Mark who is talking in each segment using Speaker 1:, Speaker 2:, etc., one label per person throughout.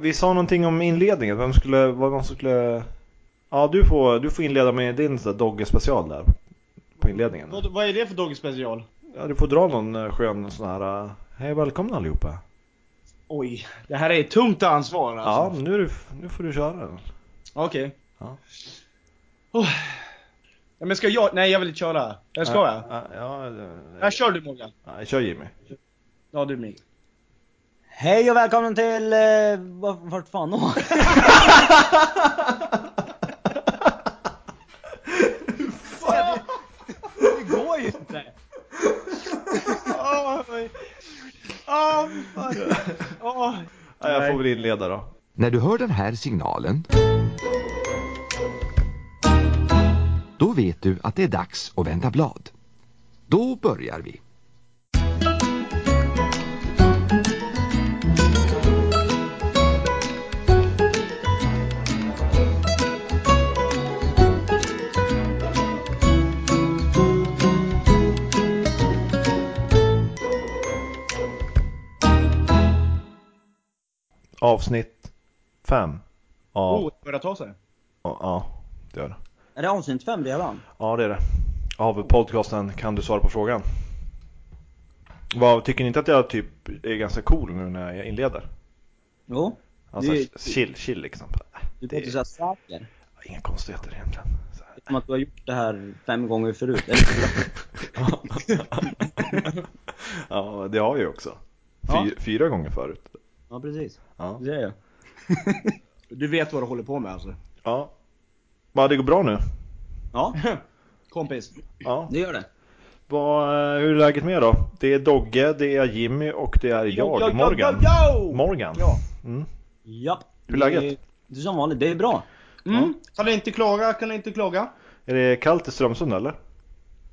Speaker 1: Vi sa någonting om inledningen, vem skulle, vad någon som skulle... Ja du får, du får inleda med din så där Dogge-special där. På inledningen.
Speaker 2: Mm. Vad, vad är det för Dogge special?
Speaker 1: Ja, du får dra någon eh, skön sån här, eh, hej välkomna allihopa.
Speaker 2: Oj, det här är ett tungt ansvar
Speaker 1: Ja,
Speaker 2: alltså.
Speaker 1: men nu, är du, nu får du köra den.
Speaker 2: Okej.
Speaker 1: Ja.
Speaker 2: Oh. Ja, men ska jag? Nej jag vill inte köra. Eller ska jag?
Speaker 1: Ja, ja, det-
Speaker 2: Ja, kör du Morgan.
Speaker 1: Nej, kör Jimmy.
Speaker 2: Ja, du Ming.
Speaker 3: Hej och välkommen till... Eh, vart, vart fan då? det går ju inte!
Speaker 2: Åh, oj. Åh, fy fan. Åh.
Speaker 1: Ja, jag får väl inleda då.
Speaker 4: När du hör den här signalen då vet du att det är dags att vända blad. Då börjar vi.
Speaker 1: Avsnitt 5. Av,
Speaker 2: Oh, det börjar ta sig.
Speaker 1: ja, ja, det gör det.
Speaker 3: Är det avsnitt fem redan?
Speaker 1: Ja, det är det. Av podcasten Kan du svara på frågan? Vad, tycker ni inte att jag typ är ganska cool nu när jag inleder?
Speaker 3: Jo.
Speaker 1: Alltså
Speaker 3: Det är-
Speaker 1: chill, chill liksom.
Speaker 3: Du
Speaker 1: Det-
Speaker 3: låter såhär säker.
Speaker 1: Inga konstigheter egentligen. Så här.
Speaker 3: Det är Som att du har gjort det här fem gånger förut. Eller?
Speaker 1: ja, det har jag ju också.
Speaker 2: Ja.
Speaker 1: Fy, Fyra gånger förut.
Speaker 3: ja precis.
Speaker 1: Ja.
Speaker 2: Det är jag. Du vet vad du håller på med alltså.
Speaker 1: ja. Men det går bra nu.
Speaker 3: Ja,
Speaker 2: Kompis.
Speaker 1: Ja.
Speaker 3: det gör det.
Speaker 1: Vad, eh, hur är läget med er då? Det är Dogge, det är Jimmy och det är jag, Morgan.
Speaker 2: Yo, yo, yo!
Speaker 1: Morgan.
Speaker 2: Ja.
Speaker 1: Mm.
Speaker 3: Ja.
Speaker 1: Hur är läget?
Speaker 3: Det är som vanligt, det är bra.
Speaker 2: Mm. Kan inte klaga, kan inte klaga.
Speaker 1: Är det kallt i Strömsund eller?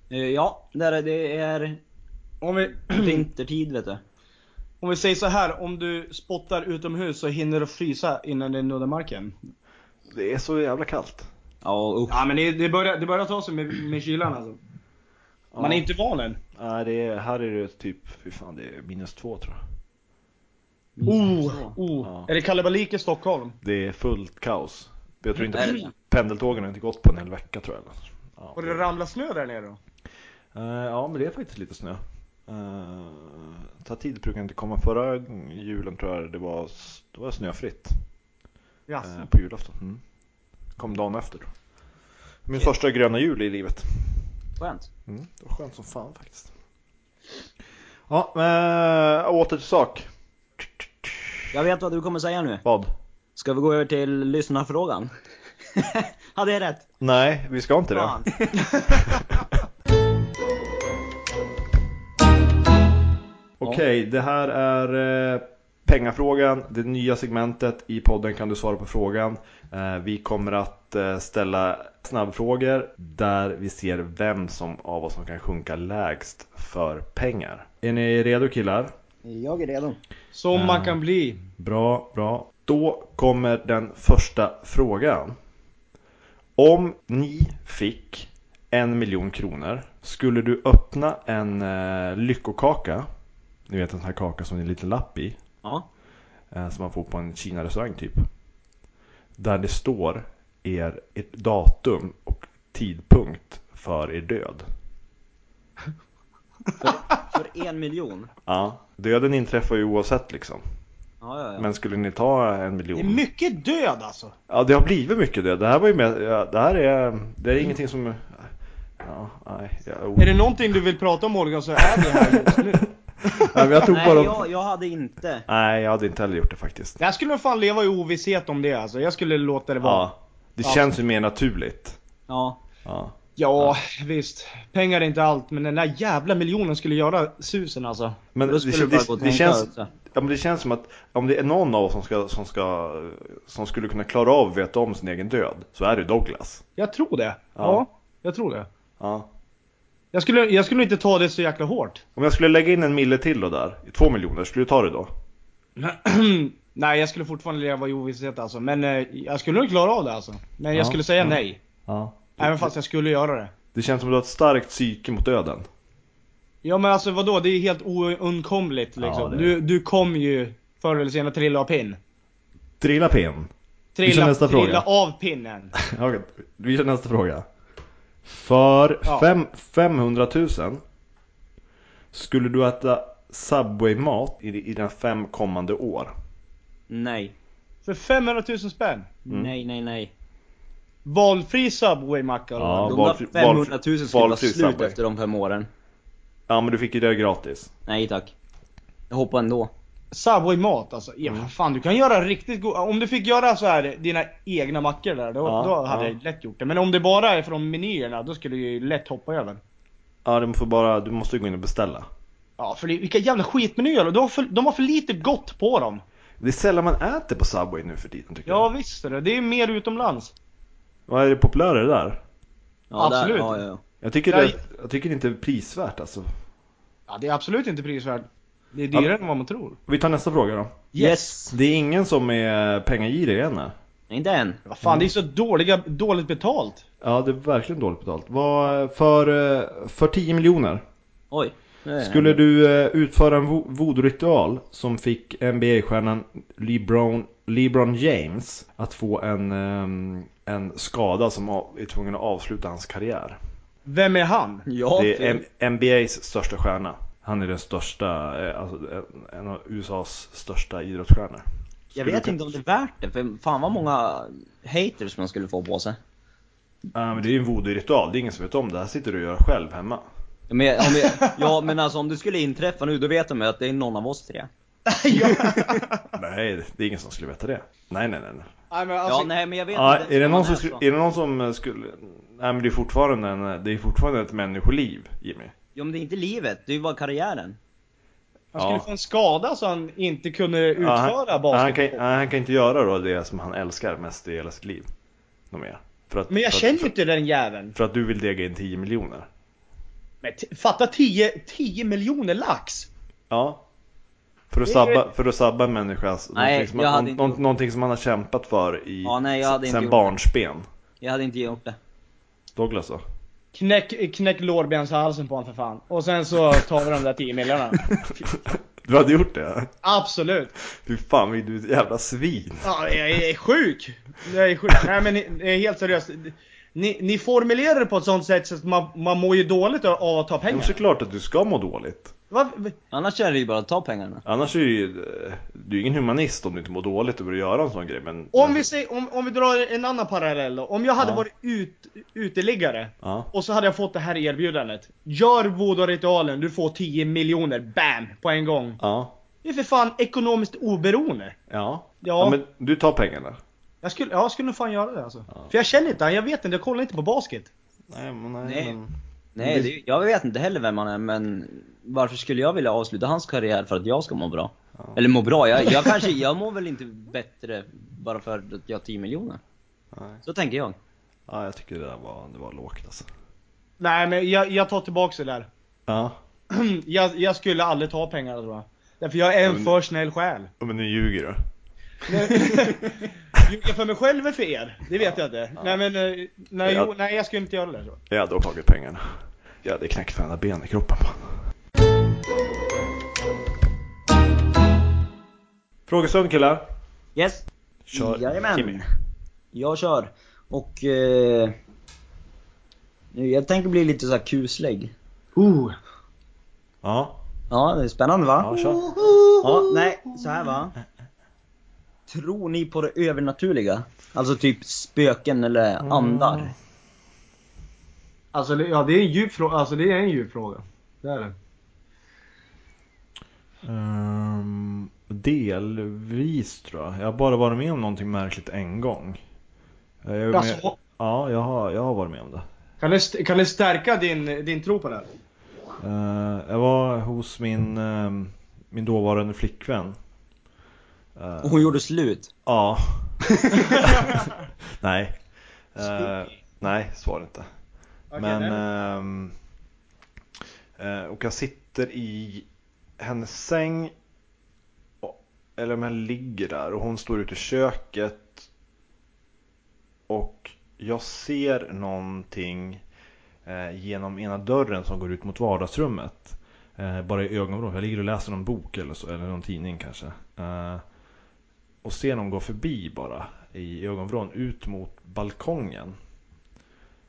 Speaker 3: Eh, Ja, där är- det är
Speaker 2: Om vi,
Speaker 3: vintertid vet du.
Speaker 2: om vi säger så här, om du spottar utomhus så hinner du frysa innan det nuddar marken.
Speaker 1: Det är så jävla kallt.
Speaker 3: Ja, usch.
Speaker 2: Ja men det, det, börjar, det börjar ta sig med, med kylan alltså. Man är inte van än.
Speaker 1: Nej, det är, här är det typ, fy fan det är minus två tror jag.
Speaker 2: Oh, oh.
Speaker 1: Ja.
Speaker 2: Är det kalabalik i Stockholm?
Speaker 1: Det är fullt kaos. Jag tror
Speaker 3: Är
Speaker 1: inte
Speaker 3: det?
Speaker 1: pendeltågen har inte gått på en hel vecka tror jag. eller. Ja,
Speaker 2: Har det ramlat snö där nere då?
Speaker 1: Eh, ja, men det är faktiskt lite snö. Uh, ta tid brukar inte komma. Förra julen tror jag det var, då var det snöfritt.
Speaker 2: Jaså?
Speaker 1: eh, på julafton. Mm. Kom dagen efter. då. Min första gröna jul i livet.
Speaker 3: Skönt.
Speaker 1: Mm, det var skönt som fan faktiskt. Ja, men åter till sak.
Speaker 3: Jag vet vad du kommer säga nu.
Speaker 1: Vad?
Speaker 3: Ska vi gå över till lyssnarfrågan? Hade jag rätt?
Speaker 1: Nej, vi ska inte det.
Speaker 3: Fan.
Speaker 1: Okej, det här är eh, pengafrågan, det nya segmentet i podden kan du svara på frågan. Eh, vi kommer att eh, ställa snabbfrågor där vi ser vem som av oss som kan sjunka lägst för pengar. Är ni redo killar?
Speaker 3: Jag är redo.
Speaker 2: Som man kan bli.
Speaker 1: Bra, bra. Då kommer den första frågan. Om ni fick en miljon kronor, skulle du öppna en eh, lyckokaka? Ni vet en sån här kaka som det är lite lapp i.
Speaker 3: Ja.
Speaker 1: eh, Som man får på en Kina-restaurang typ. Där det står er, ert datum och tidpunkt för er död.
Speaker 3: För en miljon?
Speaker 1: Ja. Döden inträffar ju oavsett liksom.
Speaker 3: Ja, ja, ja.
Speaker 1: Men skulle ni ta en
Speaker 2: Det
Speaker 1: miljon?
Speaker 2: är mycket död alltså.
Speaker 1: Ja, det har blivit mycket det. Det här var ju med, ja, det här är, det är
Speaker 3: Mm.
Speaker 1: ingenting som... Ja, nej. Jag,
Speaker 2: Är det någonting du vill prata om Morgan så är det här just nu.
Speaker 1: nej, men jag tog
Speaker 3: Nej,
Speaker 1: bara...
Speaker 3: jag, jag hade inte.
Speaker 1: Nej, jag hade inte heller gjort det faktiskt.
Speaker 2: Jag skulle nog fan leva i ovisshet om det alltså. Jag skulle låta det vara.
Speaker 1: Ja. Det
Speaker 2: Ja.
Speaker 1: känns ju mer naturligt.
Speaker 3: Ja.
Speaker 1: Ja.
Speaker 2: Ja, visst. Pengar är inte allt, men den där jävla miljonen skulle göra susen alltså.
Speaker 1: Men
Speaker 3: Då
Speaker 1: det,
Speaker 3: skulle du
Speaker 1: det,
Speaker 3: bara gå
Speaker 1: det,
Speaker 3: och tänka
Speaker 1: känns,
Speaker 3: också.
Speaker 1: ja, men det känns som att om det är någon av oss som, ska, som, ska, som skulle kunna klara av att veta om sin egen död, så är det Douglas.
Speaker 2: Jag tror det. Ja.
Speaker 1: Ja.
Speaker 2: jag tror det.
Speaker 1: Ja.
Speaker 2: Jag skulle, jag skulle inte ta det så jäkla hårt.
Speaker 1: Om jag skulle lägga in en mille till då där, i två miljoner, skulle du ta det då?
Speaker 2: Nej, jag skulle fortfarande leva i ovisshet alltså. Men eh, jag skulle nog klara av det alltså. Men
Speaker 1: Ja.
Speaker 2: jag skulle säga
Speaker 1: Mm.
Speaker 2: nej.
Speaker 1: Ja.
Speaker 2: Även fast jag skulle göra det.
Speaker 1: Det känns som att du har ett starkt psyke mot döden.
Speaker 2: Ja men alltså vadå, det är helt oundkomligt
Speaker 1: Ja,
Speaker 2: liksom.
Speaker 1: det är
Speaker 2: du, du kommer ju förr eller senare trilla av pinn.
Speaker 1: Trilla pinn. Vi kör
Speaker 2: Trilla,
Speaker 1: nästa fråga.
Speaker 2: trilla av pinnen.
Speaker 1: Okej, vi kör nästa fråga. För
Speaker 2: Ja.
Speaker 1: fem, 500 000 skulle du äta Subway-mat i, i dina fem kommande år?
Speaker 3: Nej.
Speaker 2: För 500 000 spänn.
Speaker 1: Mm.
Speaker 3: Nej, nej, nej.
Speaker 2: Valfri Subway-macka då.
Speaker 1: Ja.
Speaker 3: De
Speaker 1: valfri-
Speaker 3: där 500 000 skulle vara
Speaker 1: valfri
Speaker 3: slut
Speaker 1: Subway.
Speaker 3: efter de fem åren.
Speaker 1: Ja, men du fick ju det gratis.
Speaker 3: Nej tack. Jag hoppar ändå.
Speaker 2: Subway-mat alltså. Ja,
Speaker 1: Mm.
Speaker 2: vad fan, du kan göra riktigt god... Om du fick göra så här dina egna mackor där, då,
Speaker 1: Ja,
Speaker 2: då hade
Speaker 1: ja.
Speaker 2: jag lätt gjort det. Men om det bara är från menyerna, då skulle jag ju lätt hoppa över.
Speaker 1: Ja, du, får bara, du måste ju gå in och beställa.
Speaker 2: Ja, för det, vilka jävla skitmenyer. De, har för- de har för lite gott på dem.
Speaker 1: Det är sällan man äter på Subway nu för tiden tycker
Speaker 2: Ja,
Speaker 1: jag.
Speaker 2: visst är det. Det är mer utomlands.
Speaker 1: Vad är det populärare där?
Speaker 3: Ja,
Speaker 2: Absolut.
Speaker 3: Där, ja, ja, ja.
Speaker 1: Jag tycker,
Speaker 2: Nej.
Speaker 1: det, jag tycker det inte är prisvärt alltså.
Speaker 2: Ja, det är absolut inte prisvärt. Det är dyrare än vad man tror.
Speaker 1: Vi tar nästa fråga då.
Speaker 3: Yes.
Speaker 1: Det är ingen som är pengagirig än nej.
Speaker 3: Inte än.
Speaker 2: Vad fan, det är så
Speaker 1: Mm.
Speaker 2: dåliga, dåligt betalt.
Speaker 1: Ja, det är verkligen dåligt betalt. Vad, för, eh, för 10 miljoner
Speaker 3: Oj. Nu är jag
Speaker 1: skulle
Speaker 3: här.
Speaker 1: du eh, utföra en vo- voodoo-ritual som fick NBA-stjärnan LeBron, LeBron James att få en, ehm, en skada som av- är tvungen att avsluta hans karriär.
Speaker 2: Vem är han?
Speaker 3: Ja,
Speaker 1: Det är
Speaker 3: för-
Speaker 1: M- NBA's största stjärna. Han är den största, eh, alltså en- en av USAs största idrottsstjärnor.
Speaker 3: jag
Speaker 1: skulle
Speaker 3: vet
Speaker 1: du-
Speaker 3: inte om det är värt det, för fan vad många haters man skulle få på sig.
Speaker 1: Ja, men det är ju en voodoo-ritual, det är ingen som vet om det. Det här sitter du och gör själv hemma.
Speaker 3: Ja, Men, om jag, ja men alltså om det skulle inträffa nu, då vet de ju att det är någon av oss tre.
Speaker 1: Nej, det är ingen som skulle veta det. Nej, nej, nej. nej.
Speaker 2: Nej, men alltså,
Speaker 3: Ja, nej men jag vet
Speaker 1: Ja,
Speaker 3: inte ens
Speaker 1: är, det
Speaker 3: om
Speaker 1: någon
Speaker 3: man
Speaker 1: som
Speaker 3: är alltså.
Speaker 1: skulle,
Speaker 3: så.
Speaker 1: är det någon som eh, skulle... Nej men det är fortfarande, en, eh, det är fortfarande ett människoliv, Jimmy.
Speaker 3: Ja men det är inte livet, det är ju bara karriären.
Speaker 2: Han skulle
Speaker 1: Ja.
Speaker 2: få en skada så han inte kunde
Speaker 1: Ja, han-
Speaker 2: utföra
Speaker 1: ja, han, kan,
Speaker 2: basket.
Speaker 1: ja, han kan inte göra då det som han älskar mest i hela sitt liv. Något mer. För att,
Speaker 2: Men jag
Speaker 1: för att-
Speaker 2: känner ju
Speaker 1: för,
Speaker 2: inte den jäveln.
Speaker 1: för att du vill dega in 10 miljoner.
Speaker 2: Men t- fatta 10, 10 miljoner lax!
Speaker 1: Ja. För att
Speaker 2: Det är ju-
Speaker 1: sabba, för att sabba en människas,
Speaker 3: Nej,
Speaker 1: någonting som,
Speaker 3: jag
Speaker 1: han,
Speaker 3: hade inte
Speaker 1: någon,
Speaker 3: gjort det.
Speaker 1: någonting som han har kämpat för i,
Speaker 3: Ja, nej, jag hade inte
Speaker 1: sen
Speaker 3: gjort
Speaker 1: barnsben.
Speaker 3: Jag hade inte gjort det.
Speaker 1: Douglas då?
Speaker 2: Knäck, knäck lårbenshalsen på honom för fan. Och sen så tar vi de där 10 miljonerna.
Speaker 1: Du hade gjort det?
Speaker 2: Absolut!
Speaker 1: Fy fan, du är ett jävla svin.
Speaker 2: Ja, jag är sjuk! Jag är sjuk. Nej men ni- eh, helt seriöst. Ni, ni formulerar det på ett sånt sätt så att man, man mår ju dåligt av- av att ta
Speaker 1: Det är
Speaker 2: pengar.
Speaker 1: såklart att du ska må dåligt.
Speaker 2: Va?
Speaker 3: Annars är det ju bara att ta pengarna.
Speaker 1: Annars är du ju du är ingen humanist om du inte mår dåligt över att göra en sån grej men...
Speaker 2: Om vi, säger, om, om vi drar en annan parallell då. Om jag hade
Speaker 1: Ja.
Speaker 2: varit ut, uteliggare
Speaker 1: Ja.
Speaker 2: och så hade jag fått det här erbjudandet. Gör voodoo-ritualen, du får 10 miljoner, BAM! På en gång.
Speaker 1: Ja.
Speaker 2: Det är för fan ekonomiskt oberoende.
Speaker 1: Ja.
Speaker 2: Ja.
Speaker 1: ja men du tar pengarna.
Speaker 2: Jag skulle, ja, jag skulle nog fan göra det alltså.
Speaker 1: Ja.
Speaker 2: För jag känner inte han, jag vet inte, jag kollar inte på basket.
Speaker 1: Nej men nej,
Speaker 3: Nej.
Speaker 1: men...
Speaker 3: Nej, det, jag vet inte heller vem han är men varför skulle jag vilja avsluta hans karriär för att jag ska må bra?
Speaker 1: Ja.
Speaker 3: Eller må bra, jag, jag kanske, jag mår väl inte bättre bara för att jag har 10 miljoner.
Speaker 1: Nej.
Speaker 3: Så tänker jag.
Speaker 1: Ja jag tycker det där var, det var lågt alltså.
Speaker 2: Nej men jag, jag tar tillbaks det där.
Speaker 1: Ja.
Speaker 2: jag, jag skulle aldrig ta pengarna tror jag. Därför jag är en
Speaker 1: Men-
Speaker 2: för snäll själ.
Speaker 1: Ja, Men nu ljuger du.
Speaker 2: Ljuga för mig själv är för er, det vet jag inte. Nej men, eh, nej,
Speaker 1: Ja.
Speaker 2: jo, nej jag skulle inte göra det. tror jag.
Speaker 1: Jag hade tagit pengarna. Jag hade knäckt varenda ben i kroppen på honom. Frågestund killar.
Speaker 3: Yes!
Speaker 1: Kör
Speaker 3: Jajamän.
Speaker 1: Jimmy.
Speaker 3: Jag kör. Och... Eh, nu, jag tänker bli lite så här kuslig.
Speaker 2: Oh,
Speaker 1: Ja.
Speaker 3: Ja, det är spännande va?
Speaker 1: Ja kör.
Speaker 3: Ja, nej, så här va. Tror ni på det övernaturliga? Alltså typ spöken eller
Speaker 1: Mm.
Speaker 3: andar?
Speaker 2: Alltså det- ja, det är en djup fråga. Alltså det är en djup fråga. Det är det.
Speaker 1: Ehm, delvis tror jag. Jag har bara varit med om någonting märkligt en gång. Jag är
Speaker 2: Alltså,
Speaker 1: med... Ja, jag har, jag har varit med om det.
Speaker 2: kan, det, st- kan det stärka din, din tro på det här?
Speaker 1: Eh, jag var hos min, ehm, min dåvarande flickvän. Eh,
Speaker 3: Och hon gjorde slut.
Speaker 1: Ja. nej. Eh, nej, svar inte.
Speaker 2: Okej,
Speaker 1: Men...
Speaker 2: nej.
Speaker 1: ehm, eh, och jag sitter i hennes säng. och- Eller om jag ligger där och hon står ute i köket. Och jag ser någonting eh, genom ena dörren som går ut mot vardagsrummet. Eh, bara i ögonvrån. Jag ligger och läser någon bok eller, så, eller någon tidning kanske. Eh, och ser någon gå förbi bara i ögonvrån ut mot balkongen.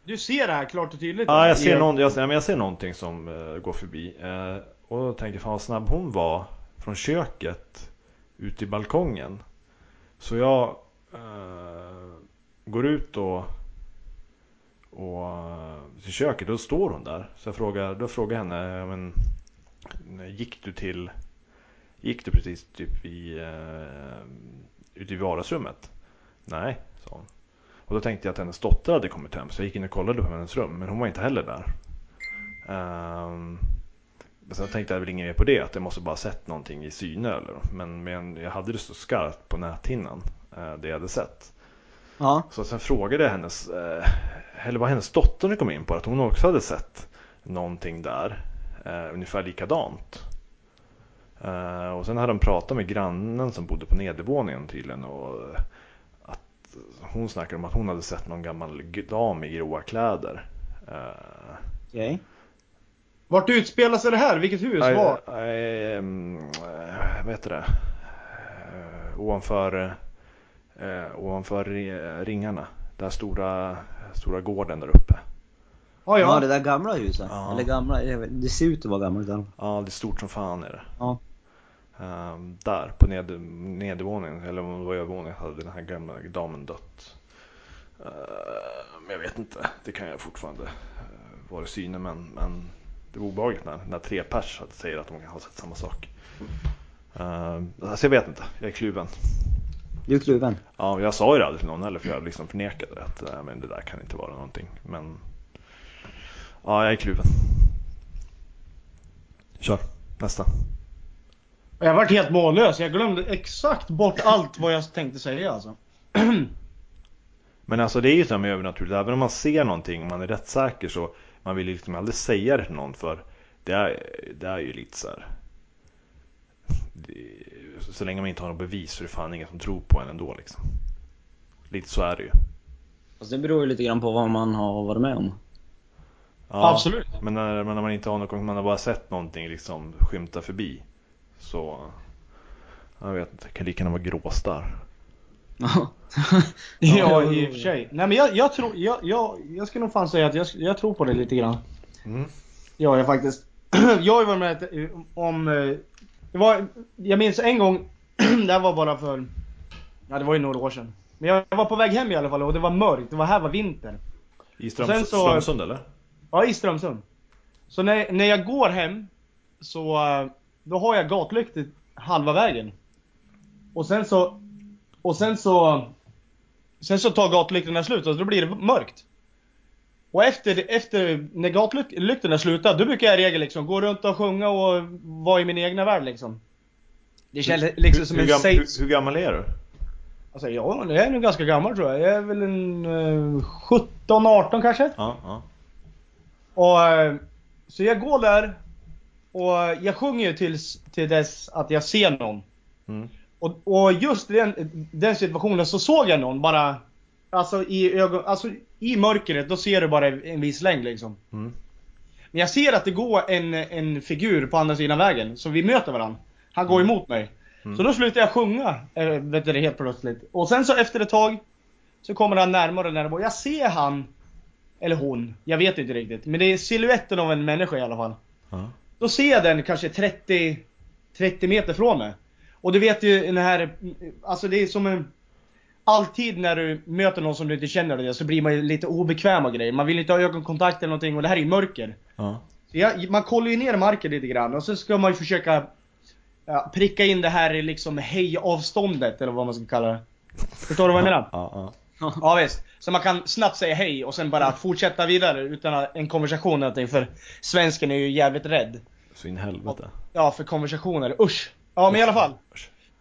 Speaker 2: Du ser det här klart och tydligt?
Speaker 1: Ja, jag
Speaker 2: I-
Speaker 1: ser, någon, jag, ser- ja, men jag ser någonting som eh, går förbi. Eh, och då tänker jag, fan vad snabb hon var från köket ut i balkongen. Så jag eh, går ut då och, eh, till köket, då står hon där. Så jag frågar, då frågar jag henne, ja, men, eh, gick du till, gick du precis typ i, eh, ute i vardagsrummet? Nej, sa hon. Och då tänkte jag att hennes dotter hade kommit hem så jag gick in och kollade på hennes rum men hon var inte heller där. Um, sen tänkte jag väl inget mer på det att jag måste bara ha sett någonting i syne eller men, men jag hade det så skarpt på näthinnan eh, det jag hade sett.
Speaker 3: Ja.
Speaker 1: Så sen frågade jag hennes, eh, eller vad hennes dotter nu kom in på, att hon också hade sett någonting där, eh, ungefär likadant. Eh, och sen hade de pratat med grannen som bodde på nedervåningen tydligen och eh, att hon snackade om att hon hade sett någon gammal g- dam i gråa kläder. Eh,
Speaker 3: Okej.
Speaker 2: Vart utspelar sig det här? Vilket hus?
Speaker 1: Nej,
Speaker 2: Var?
Speaker 1: nej, ehm, eh, vad heter det? Eh, Ovanför, eh, ovanför eh, ringarna. Den här stora, stora gården där uppe.
Speaker 2: Ja,
Speaker 3: Ja,
Speaker 2: ja.
Speaker 3: det där gamla huset.
Speaker 1: Ja.
Speaker 3: Eller gamla, jag vet- det ser ut att vara gammalt i alla fall.
Speaker 1: Ja, det är stort som fan är det.
Speaker 3: Ja.
Speaker 1: Ehm, där på ned, nedervåningen, eller om det var övervåningen, hade den här gamla damen dött. Ehm, men jag vet inte, det kan jag fortfarande eh, vara i syne men, men det var obehagligt när, när tre pers att- säger att de kan ha sett samma sak. Ehm, alltså jag vet inte, jag är kluven.
Speaker 3: Du är kluven.
Speaker 1: Ja, jag sa ju det aldrig till någon heller för jag liksom förnekade att äh, men det där kan inte vara någonting. Men ja, jag är kluven. Kör, nästa.
Speaker 2: Jag vart helt mållös. Jag glömde exakt bort allt vad jag tänkte säga alltså.
Speaker 1: Men alltså det är ju så här med övernaturligt, även om man ser någonting och man är rätt säker så man vill ju liksom aldrig säga det till någon för det är, det är ju lite så här. Det, så länge man inte har något bevis så är det fan ingen som tror på en ändå liksom. Lite så är det ju.
Speaker 3: Fast det beror ju lite grann på vad man har varit med om.
Speaker 1: Ja,
Speaker 2: Absolut.
Speaker 1: Men när, men när man inte har något, man har bara sett någonting liksom skymta förbi. Så... Jag vet inte, det kan lika gärna vara gråstarr.
Speaker 3: Ja.
Speaker 2: Ja, i och för sig. Nej men jag, jag tror, jag, jag, jag skulle nog fan säga att jag, jag tror på det lite grann.
Speaker 1: Mm.
Speaker 2: Ja, jag faktiskt. jag har ju varit med om... eh, Det var, jag minns en gång, det här var bara för... Ja, det var ju några år sedan. Men jag, jag var på väg hem i alla fall och det var mörkt. Det var här var vinter.
Speaker 1: I
Speaker 2: Och sen
Speaker 1: Ströms-
Speaker 2: så-
Speaker 1: Strömsund eller?
Speaker 2: Ja, i Strömsund. Så när, när jag går hem så eh, då har jag gatlyktor halva vägen. Och sen så och sen så sen så tar gatlyktorna slut och då blir det mörkt. Och efter, efter när gatlyktorna slutar då brukar jag i regel liksom gå runt och sjunga och vara i min egna värld liksom. Det känns liksom
Speaker 1: hur,
Speaker 2: som
Speaker 1: hur,
Speaker 2: en
Speaker 1: gam,
Speaker 2: safe...
Speaker 1: hur, hur gammal är du?
Speaker 2: Alltså, ja, jag är nog ganska gammal tror jag. Jag är väl en eh, 17, 18 kanske.
Speaker 1: Ja, ja.
Speaker 2: Och, eh, så jag går där och eh, jag sjunger tills, till dess att jag ser någon.
Speaker 1: Mm.
Speaker 2: Och, och just i den, den situationen så såg jag någon bara Alltså i, ögon, alltså i mörkret, då ser du bara en viss längd liksom.
Speaker 1: Mm.
Speaker 2: Men jag ser att det går en, en figur på andra sidan vägen, så vi möter varandra. Han går emot mig. Så då slutar jag sjunga, eh, vet du det, helt plötsligt. Och sen så efter ett tag så kommer han närmare och närmare. Jag ser han, eller hon, jag vet inte riktigt. Men det är siluetten av en människa i alla fall.
Speaker 1: Ja.
Speaker 2: Då ser jag den kanske 30, 30 meter från mig. Och du vet ju den här, alltså det är som en... Alltid när du möter någon som du inte känner dig så blir man ju lite obekväm och grejer. Man vill inte ha ögonkontakt eller någonting och det här är ju mörker.
Speaker 1: ja.
Speaker 2: Så jag, man kollar ju ner marken lite grann och så ska man ju försöka ja, pricka in det här i liksom hej-avståndet eller vad man ska kalla det. Förstår du vad jag menar?
Speaker 1: Ja, ja.
Speaker 2: Ja visst. Så man kan snabbt säga hej och sen bara fortsätta vidare utan en konversation eller någonting för svensken är ju jävligt rädd.
Speaker 1: Så in i helvete.
Speaker 2: Ja, för konversationer. Usch! Ja, men i alla fall.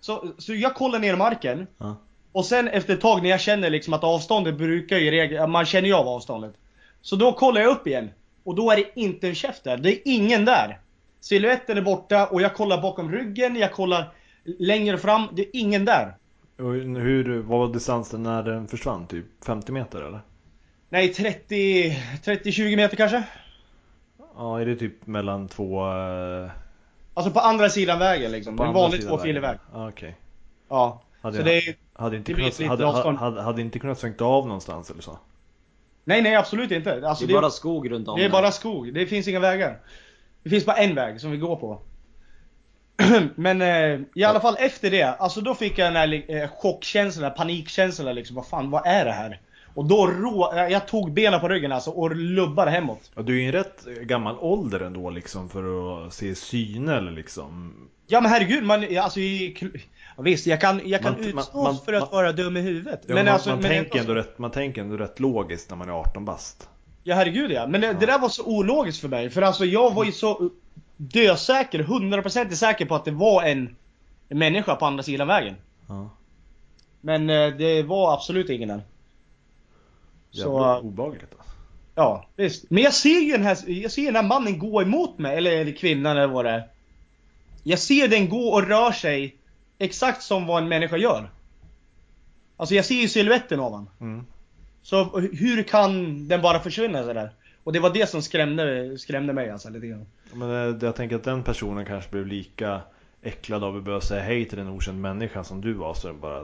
Speaker 2: Så, så jag kollar ner i marken.
Speaker 1: Ja.
Speaker 2: Och sen efter ett tag när jag känner liksom att avståndet brukar ju i regel, man känner ju av avståndet. Så då kollar jag upp igen. Och då är det inte en käft där. Det är ingen där. Silhuetten är borta och jag kollar bakom ryggen, jag kollar längre fram. Det är ingen där.
Speaker 1: Och hur, vad var distansen när den försvann? Typ 50 meter eller?
Speaker 2: Nej, 30, 30-20 meter kanske?
Speaker 1: Ja, är det typ mellan två... eh,
Speaker 2: Alltså på andra sidan vägen liksom.
Speaker 1: på
Speaker 2: en
Speaker 1: andra
Speaker 2: vanlig
Speaker 1: sidan vägen?
Speaker 2: tvåfilig väg.
Speaker 1: Ja, Okej.
Speaker 2: Ja.
Speaker 1: Hade,
Speaker 2: Så
Speaker 1: jag,
Speaker 2: det är,
Speaker 1: hade, inte
Speaker 2: det blir
Speaker 1: kunnat,
Speaker 2: ett litet
Speaker 1: hade,
Speaker 2: avstånd.
Speaker 1: hade, hade inte kunnat svängt av någonstans eller så?
Speaker 2: nej, nej absolut inte. Alltså,
Speaker 3: Det är bara skog runt om
Speaker 2: Det är
Speaker 3: där.
Speaker 2: bara skog. Det finns inga vägar. Det finns bara en väg som vi går på. Men eh, i alla fall efter det, alltså då fick jag den här li- eh, chockkänslan, den här panikkänslan där, liksom. Vad fan, vad är det här? Och då rå, eh, jag tog benen på ryggen alltså och lubbade hemåt.
Speaker 1: Ja, du är ju en rätt gammal ålder ändå liksom för att se syner liksom.
Speaker 2: Ja men herregud, man, ja, alltså i, kl- ja, Visst, jag kan, jag kan
Speaker 1: Man- man-
Speaker 2: utstås
Speaker 1: man-
Speaker 2: för att
Speaker 1: man-
Speaker 2: vara dum i huvudet.
Speaker 1: Ja, men man,
Speaker 2: alltså,
Speaker 1: man,
Speaker 2: ändå
Speaker 1: tänker ändå
Speaker 2: så-
Speaker 1: rätt, man tänker ändå rätt logiskt när man är 18 bast.
Speaker 2: Ja herregud ja. Men det, det där var så ologiskt för mig. För alltså jag var ju så dösäker, 100% säker på att det var en människa på andra sidan vägen.
Speaker 1: Ja.
Speaker 2: Men eh, det var absolut ingen där.
Speaker 1: Jävla
Speaker 2: Så, eh,
Speaker 1: obehagligt alltså.
Speaker 2: ja visst. Men jag ser ju den här, jag ser den här mannen gå emot mig, eller, eller kvinnan eller vad det är. Jag ser den gå och rör sig exakt som vad en människa gör. Alltså jag ser ju siluetten av honom.
Speaker 1: Mm.
Speaker 2: Så hur kan den bara försvinna sådär? Och det var det som skrämde, skrämde mig alltså lite grann.
Speaker 1: Men eh, jag tänker att den personen kanske blev lika äcklad av att behöva säga hej till en okänd människa som du var så den bara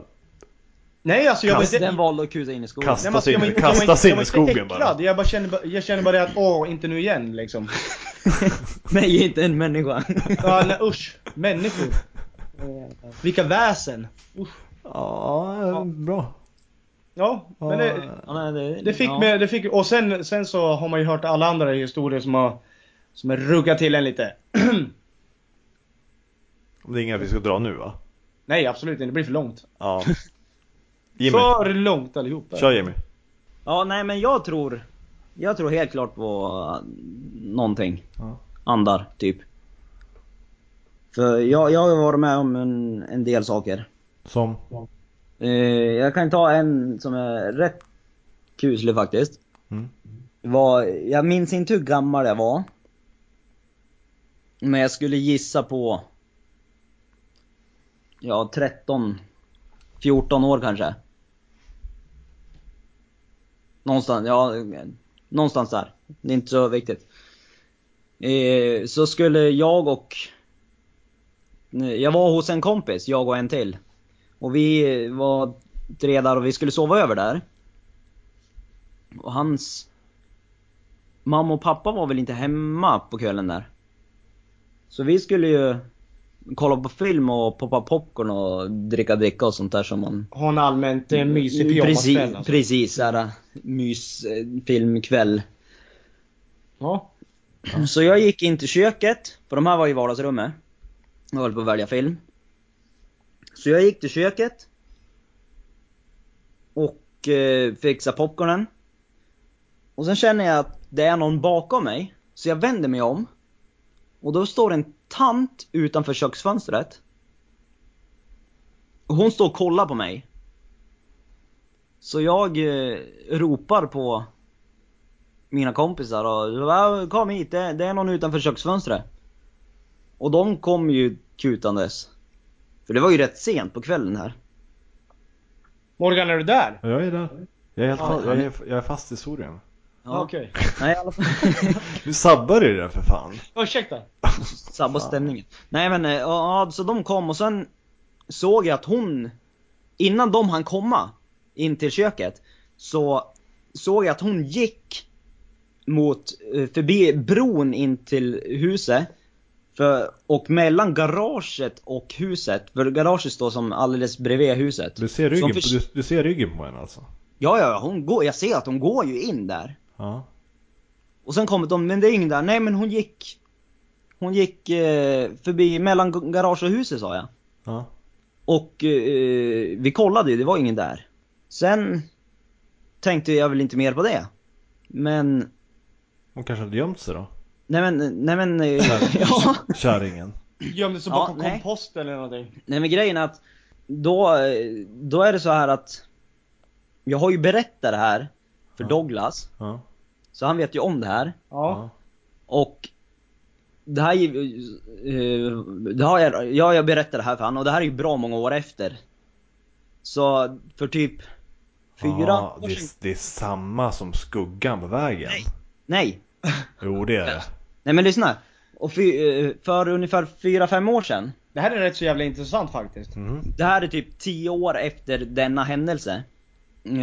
Speaker 2: Nej alltså jag
Speaker 3: Kast,
Speaker 2: var
Speaker 3: den valde att kusa in i skogen.
Speaker 1: Kast.
Speaker 2: Nej, men alltså, jag var inte-
Speaker 1: Kasta
Speaker 2: jag var inte-
Speaker 1: sig in
Speaker 2: jag var
Speaker 1: i
Speaker 2: inte
Speaker 1: skogen
Speaker 2: äcklad.
Speaker 1: bara.
Speaker 2: Jag bara kände, bara- jag kände bara det att åh, inte nu igen liksom.
Speaker 3: Nej, inte en människa.
Speaker 2: Ja, nej, usch. Människor. Vilka väsen.
Speaker 1: Ja, bra.
Speaker 2: Ja, men det,
Speaker 3: Ja, nej, det,
Speaker 2: det fick
Speaker 3: ja.
Speaker 2: mig, det fick, och sen, sen så har man ju hört alla andra historier som har, som har ruggat till en lite.
Speaker 1: Det är inga vi ska dra nu va?
Speaker 2: Nej absolut inte, det blir för långt.
Speaker 1: Ja. Jimmy,
Speaker 2: För långt allihopa.
Speaker 1: kör Jimmy.
Speaker 3: Ja, nej men jag tror... Jag tror helt klart på äh, någonting.
Speaker 1: Ja.
Speaker 3: Andar, typ. För jag, jag har varit med om en, en del saker.
Speaker 1: Som?
Speaker 3: Eh, jag kan ta en som är rätt kuslig faktiskt.
Speaker 1: Mm.
Speaker 3: Var, jag minns inte hur gammal jag var. Men jag skulle gissa på... Ja, 13. 14 år kanske. Någonstans, ja. Någonstans där. Det är inte så viktigt. Eh, så skulle jag och... Jag var hos en kompis, jag och en till. Och vi var tre där och vi skulle sova över där. Och hans mamma och pappa var väl inte hemma på kvällen där. Så vi skulle ju kolla på film och poppa popcorn och dricka dricka och sånt där som man...
Speaker 2: Ha en allmänt eh, mysig
Speaker 3: Mm, precis,
Speaker 2: pyjamaskväll alltså.
Speaker 3: precis, såhär mysfilmkväll.
Speaker 2: Ja.
Speaker 3: Så jag gick in till köket, för de här var i vardagsrummet. Jag höll på att välja film. Så jag gick till köket. Och eh, fixade popcornen. Och sen känner jag att det är någon bakom mig. Så jag vänder mig om. Och då står en tant utanför köksfönstret. Och hon står och kollar på mig. Så jag eh, ropar på mina kompisar och "Va, kom hit, det, det är någon utanför köksfönstret. Och de kom ju kutandes. För det var ju rätt sent på kvällen här.
Speaker 2: Morgan är du där?
Speaker 1: Jag är där. Jag är, helt
Speaker 3: Ja,
Speaker 1: fa- jag är, jag är fast i historien.
Speaker 2: Ja. Okej.
Speaker 3: Nej i alla fall.
Speaker 1: Du sabbar ju det där för fan.
Speaker 2: Ursäkta.
Speaker 3: Sabba stämningen. Nej men eh, ja, ja, så de kom och sen såg jag att hon, innan de hann komma in till köket, så såg jag att hon gick mot, eh, förbi bron in till huset. För, och mellan garaget och huset, för garaget står som alldeles bredvid huset.
Speaker 1: Du ser
Speaker 3: Så
Speaker 1: ryggen,
Speaker 3: hon förs-
Speaker 1: på- du, du ser ryggen på henne alltså?
Speaker 3: Ja, ja, ja, hon går, jag ser att hon går ju in där.
Speaker 1: Ja.
Speaker 3: Och sen kommer de, men det är ingen där. Nej men hon gick... Hon gick eh, förbi mellan g- garage och huset sa jag.
Speaker 1: Ja.
Speaker 3: Och eh, vi kollade ju, det var ingen där. Sen tänkte jag väl inte mer på det. Men,
Speaker 1: Hon kanske hade gömt sig då?
Speaker 3: nej men, nej men, eh, ja.
Speaker 1: Kärringen.
Speaker 2: Gömde sig
Speaker 3: Ja,
Speaker 2: bakom
Speaker 3: nej.
Speaker 2: kompost eller någonting.
Speaker 3: Nej men grejen är att då, eh, då är det så här att jag har ju berättat det här för
Speaker 1: Ja.
Speaker 3: Douglas,
Speaker 1: Ja.
Speaker 3: så han vet ju om det här.
Speaker 2: Ja.
Speaker 3: Och det här, är ju, eh, det har jag, ja, jag berättade det här för han och det här är ju bra många år efter. Så för typ fyra
Speaker 1: Ja,
Speaker 3: år
Speaker 1: det,
Speaker 3: sedan,
Speaker 1: är- det är samma som skuggan på vägen.
Speaker 3: Nej. Nej!
Speaker 1: Jo, det är det.
Speaker 3: Nej men lyssna! Och fy, eh, för ungefär fyra, fem år sedan
Speaker 2: Det här är rätt så jävla intressant faktiskt.
Speaker 1: Mhm.
Speaker 3: Det här är typ 10 år efter denna händelse. Eh,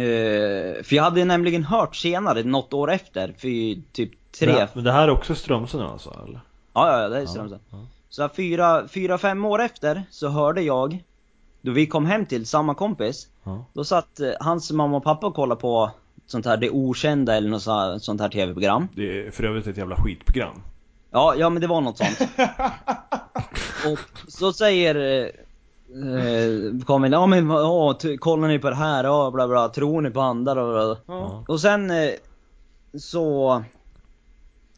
Speaker 3: för jag hade nämligen hört senare, något år efter, för typ tre,
Speaker 1: Men, men det här är också Strömsen nu alltså? Eller?
Speaker 3: Ja, ja, ja, det är Strömsen.
Speaker 1: ja.
Speaker 3: Så här fyra, fyra, fem år efter så hörde jag, då vi kom hem till samma kompis,
Speaker 1: Ja.
Speaker 3: då satt eh, hans mamma och pappa och kollade på sånt här Det Okända eller något så här, sånt här tv-program.
Speaker 1: Det är för övrigt ett jävla skitprogram.
Speaker 3: Ja, ja men det var något sånt. och så säger eh, eh, Kamil, ja men vad- ja, ty- kollar ni på det här? Ja, bla bla, tror ni på andar? Och, bla, bla.
Speaker 1: Ja.
Speaker 3: och sen eh, så...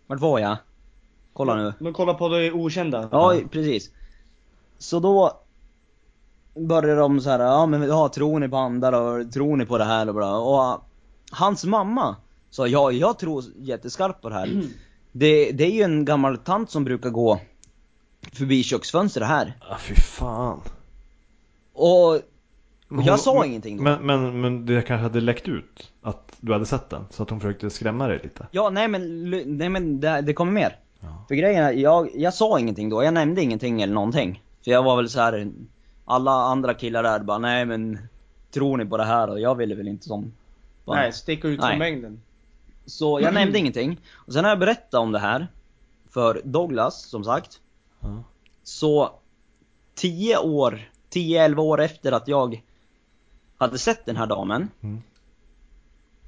Speaker 3: Vart var jag? Kolla nu.
Speaker 2: De kollar på det okända.
Speaker 3: Ja, precis. Så då börjar de så här, ja men ja, tror ni på andar och tror ni på det här och bla. Och eh, hans mamma sa, ja jag tror jätteskarpt på det här. Det, det är ju en gammal tant som brukar gå förbi köksfönstret här.
Speaker 1: Ah, fy fan.
Speaker 3: Och, och
Speaker 1: Men hon-
Speaker 3: jag sa
Speaker 1: men-
Speaker 3: ingenting då.
Speaker 1: Men, men, men det kanske hade läckt ut att du hade sett den, så att hon försökte skrämma dig lite.
Speaker 3: Ja, nej men, lu- nej, men det, det kommer mer.
Speaker 1: Ja.
Speaker 3: För grejen är, jag, jag sa ingenting då, jag nämnde ingenting eller någonting. För jag var väl så här. alla andra killar där bara, nej men tror ni på det här och jag ville väl inte som... bara-
Speaker 2: Nej, sticka ut
Speaker 3: Nej.
Speaker 2: från mängden.
Speaker 3: Så jag nämnde ingenting. Och sen när jag berättade om det här, för Douglas som sagt,
Speaker 1: Ja.
Speaker 3: så 10 år, 10-11 år efter att jag hade sett den här damen,
Speaker 1: Mm.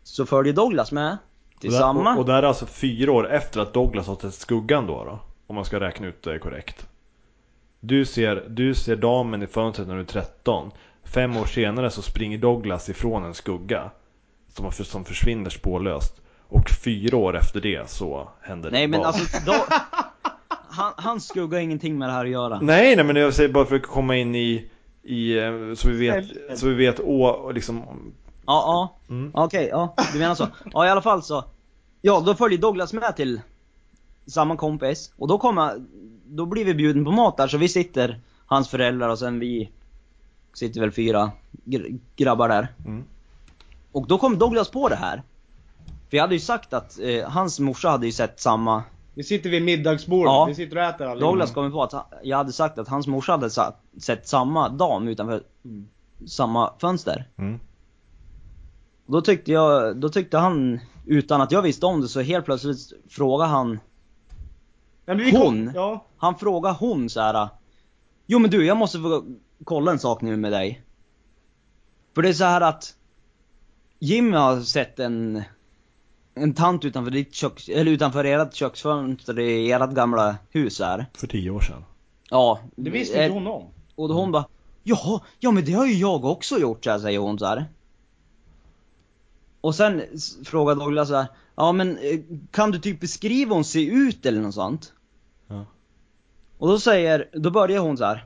Speaker 3: så följde Douglas med till
Speaker 1: Och där-
Speaker 3: samma.
Speaker 1: Och, och det här är alltså fyra år efter att Douglas har sett skuggan då, då Om man ska räkna ut det korrekt. Du ser, du ser damen i fönstret när du är 13. Fem år senare så springer Douglas ifrån en skugga. Som, har- som försvinner spårlöst. Och fyra år efter det så händer
Speaker 3: Nej men
Speaker 1: vad?
Speaker 3: alltså, då, han, han skugga har ingenting med det här att göra.
Speaker 1: Nej, nej men jag säger bara för att komma in i, i eh, så vi vet, så vi vet å, liksom,
Speaker 3: Ja, ja.
Speaker 1: Mm.
Speaker 3: Okej, ja. Du menar så. Ja, i alla fall så. Ja, då följde Douglas med till samma kompis. Och då kommer, då blir vi bjuden på mat där. Så vi sitter, hans föräldrar och sen vi sitter väl fyra gr- grabbar där.
Speaker 1: Mm.
Speaker 3: Och då kom Douglas på det här. För jag hade ju sagt att eh, hans morsa hade ju sett samma
Speaker 2: Vi sitter vid middagsbordet,
Speaker 3: Ja.
Speaker 2: vi sitter och äter allihopa.
Speaker 3: Douglas kom ju på att han- jag hade sagt att hans morsa hade sa- sett samma dam utanför
Speaker 2: Mm.
Speaker 3: samma fönster.
Speaker 1: mm,
Speaker 3: Och Då tyckte jag, då tyckte han, utan att jag visste om det, så helt plötsligt frågade han,
Speaker 2: Nej, men vi kom-
Speaker 3: Hon?
Speaker 2: Ja.
Speaker 3: han frågade hon så här. Jo men du, jag måste få kolla en sak nu med dig. För det är så här att Jimmy har sett en, en tant utanför ditt köks, eller utanför ert köksfönster i ert gamla hus här.
Speaker 1: för tio år sedan.
Speaker 3: Ja.
Speaker 2: Det visste
Speaker 3: eh,
Speaker 2: inte hon om.
Speaker 3: Och då
Speaker 1: Mm.
Speaker 3: hon bara Jaha, ja men det har ju jag också gjort så här, säger hon så här. Och sen s- frågar Douglas så här, Ja men eh, kan du typ beskriva hur hon ser ut eller något sånt?
Speaker 1: Ja.
Speaker 3: Och då säger, då börjar hon så här.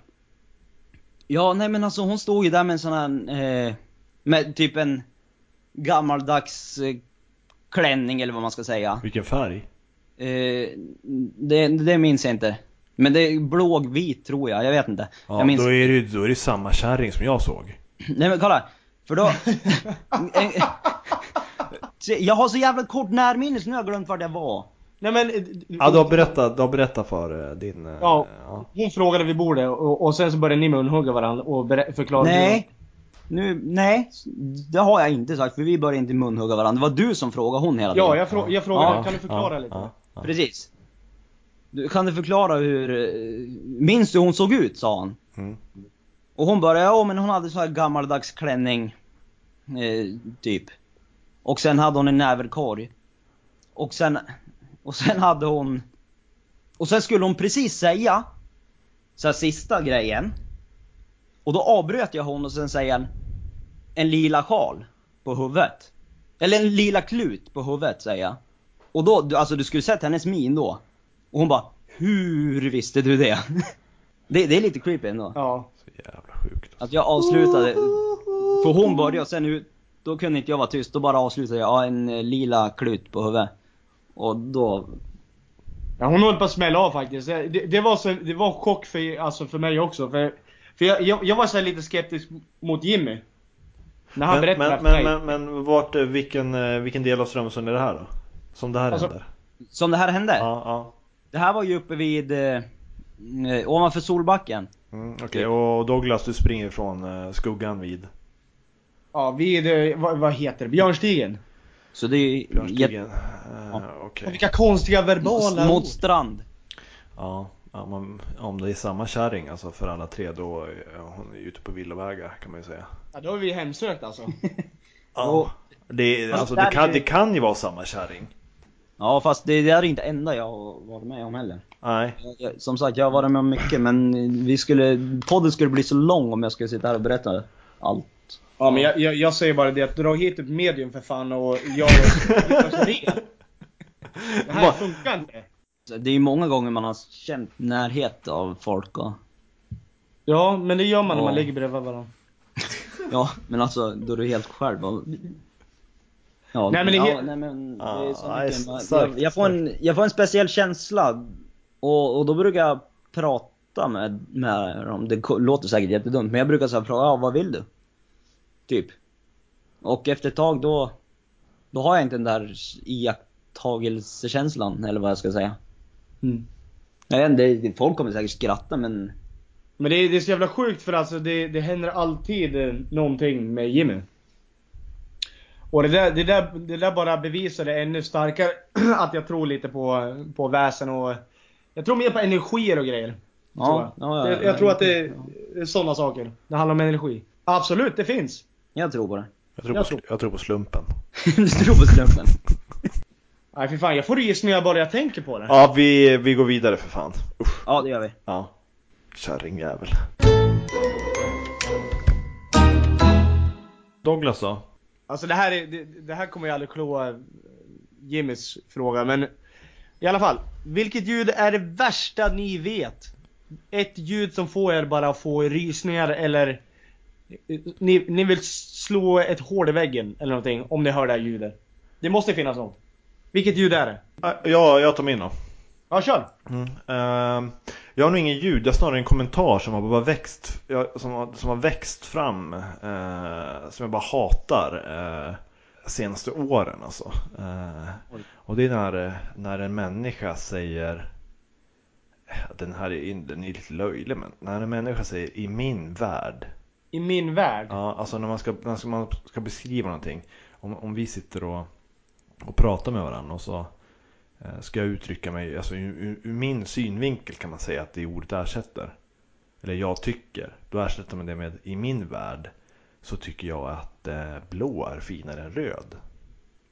Speaker 3: Ja nej men alltså hon stod ju där med en sån här eh, Med typ en Gammaldags eh, Klänning eller vad man ska säga
Speaker 1: Vilken färg?
Speaker 3: eh, det, det minns jag inte Men det är blåvit tror jag, jag vet inte
Speaker 1: Ja,
Speaker 3: jag minns
Speaker 1: då, är det, ju- då är det samma kärring som jag såg.
Speaker 3: Nej men kolla, för då... jag har så jävla kort närminne så nu har jag glömt var det var.
Speaker 2: Nej men...
Speaker 1: Ja, du har berättat, du har berättat för eh, din... eh,
Speaker 2: Ja.
Speaker 1: ja.
Speaker 2: Hon frågade vid bordet och, och sen så började ni munhugga varandra och berä- förklara
Speaker 3: Nej. Nu, nej. Det har jag inte sagt för vi började inte munhugga varandra. Det var du som frågade hon hela
Speaker 2: hur- Ja,
Speaker 3: tiden.
Speaker 2: jag, frå- jag frågade
Speaker 3: Ja.
Speaker 2: kan du förklara
Speaker 1: ja,
Speaker 2: lite?
Speaker 1: Ja, ja.
Speaker 3: Precis. Du, kan du förklara hur... eh, Minns du hur hon såg ut? sa han.
Speaker 1: Mm.
Speaker 3: Och hon började, ja men hon hade så här gammaldags klänning. Eh, typ. Och sen hade hon en näverkorg. Och sen, och sen hade hon... Och sen skulle hon precis säga, så här sista grejen. Och då avbröt jag hon och sen säger en, en lila sjal på huvudet. Eller en lila klut på huvudet säger jag. Och då, du- alltså du skulle sett hennes min då. Och hon bara, hur visste du det? Det, det är lite creepy ändå.
Speaker 2: Ja.
Speaker 1: Så jävla sjukt.
Speaker 3: Att jag avslutade, för hon började och sen ut, då kunde inte jag vara tyst, då bara avslutade jag, ja en eh, lila klut på huvudet. Och då,
Speaker 2: ja. Hon höll på att smälla av faktiskt. Det, det, det var, så, det var en chock för, alltså, för mig också. För, för jag, jag, jag var så här lite skeptisk mot Jimmy. När han
Speaker 1: Men,
Speaker 2: berättade
Speaker 1: men,
Speaker 2: för mig.
Speaker 1: men, men, men vart, eh, vilken, eh, vilken del av Strömsund är det här då? Som det här
Speaker 2: Alltså-
Speaker 1: händer?
Speaker 3: som det här hände.
Speaker 1: Ja, ja.
Speaker 3: Det här var ju uppe vid, eh, eh, ovanför Solbacken.
Speaker 1: Mm, Okej, och Douglas du springer från eh, skuggan vid
Speaker 2: Ja, vid, eh, vad, vad heter det? Björnstigen?
Speaker 3: Så det är jätte-
Speaker 1: björnstigen? Eh, Okej.
Speaker 2: Och vilka konstiga verbala
Speaker 3: mot
Speaker 2: ord.
Speaker 3: strand.
Speaker 1: Ja, ja, man, om det är samma kärring alltså för alla tre då är ja, hon är ute på villovägar kan man ju säga.
Speaker 2: Ja, då är vi hemsökt alltså.
Speaker 1: Ja, det, är-
Speaker 3: Fast
Speaker 1: alltså,
Speaker 3: där
Speaker 1: det, kan,
Speaker 3: är-
Speaker 1: det kan ju vara samma kärring.
Speaker 3: Ja fast det där är inte enda jag har varit med om heller.
Speaker 1: Nej,
Speaker 3: Jag- Som sagt, jag har varit med om mycket men vi skulle, podden skulle bli så lång om jag skulle sitta här och berätta allt.
Speaker 2: Ja men jag, jag, jag säger bara det att dra hit ett medium för fan och jag och det. Det här
Speaker 1: Vad-
Speaker 2: funkar inte.
Speaker 3: Så Det är många gånger man har känt närhet av folk och,
Speaker 2: Ja, men det gör man när man
Speaker 3: Ja.
Speaker 2: ligger bredvid varandra.
Speaker 3: Ja, men alltså då är du helt själv och, Ja,
Speaker 2: Nej, men det är
Speaker 3: ja,
Speaker 2: helt-
Speaker 3: nej, men det
Speaker 1: Ah,
Speaker 3: är så mycket.
Speaker 1: nej,
Speaker 3: man-
Speaker 1: starkt,
Speaker 3: jag, jag, får en, jag får en speciell känsla och, och då brukar jag prata med, med dem, det ko- låter säkert jättedumt men jag brukar så här fråga ja, vad vill du? Typ. Och efter ett tag då, då har jag inte den där iakttagelsekänslan eller vad jag ska säga.
Speaker 2: Mm.
Speaker 3: Jag vet inte, det- folk kommer säkert skratta men
Speaker 2: Men det, är- det är så jävla sjukt för alltså det, det händer alltid eh, någonting med Jimmy. Och det där, det där, det där bara bevisade ännu starkare att jag tror lite på, på väsen och... Jag tror mer på energier och grejer. tror
Speaker 3: ja,
Speaker 2: jag.
Speaker 3: ja,
Speaker 2: jag, jag tror att det är sådana saker. Det handlar om energi. Absolut, det finns.
Speaker 3: Jag tror på det.
Speaker 1: jag tror,
Speaker 2: Jag
Speaker 1: på,
Speaker 2: tror-
Speaker 1: sl- jag tror på slumpen.
Speaker 3: du tror på slumpen?
Speaker 2: Nej för fan, jag får rysningar bara jag tänker på det.
Speaker 1: Ja, vi, vi går vidare för fan. Usch,
Speaker 3: Ja, det gör vi.
Speaker 1: ja. Kärringjävel. Douglas då?
Speaker 2: Alltså det här, är, det, det här kommer jag aldrig kloa eh, Jimmys fråga men I alla fall, vilket ljud är det värsta ni vet? Ett ljud som får er bara att få rysningar eller eh, ni, ni vill slå ett hål i väggen eller någonting om ni hör det här ljudet. Det måste finnas något. Vilket ljud är det?
Speaker 1: Ah, Ja, jag tar min då.
Speaker 2: Ja kör!
Speaker 1: Mm. Ehm, jag har nog ingen ljud, jag har snarare en kommentar som har bara växt, jag- som har, som har växt fram, eh, som jag bara hatar eh, senaste åren alltså. Eh,
Speaker 3: Oj.
Speaker 1: och det är när, eh, när en människa säger, den här är, in- den är lite löjlig men, när en människa säger i min värld,
Speaker 2: I min värld.
Speaker 1: ja, alltså när man ska, när ska- man ska beskriva någonting, om, om vi sitter och, och pratar med varandra och så eh, ska jag uttrycka mig, alltså ur, ur, ur min synvinkel kan man säga att det ordet ersätter. Eller jag tycker, då ersätter man det med i min värld så tycker jag att eh, blå är finare än röd.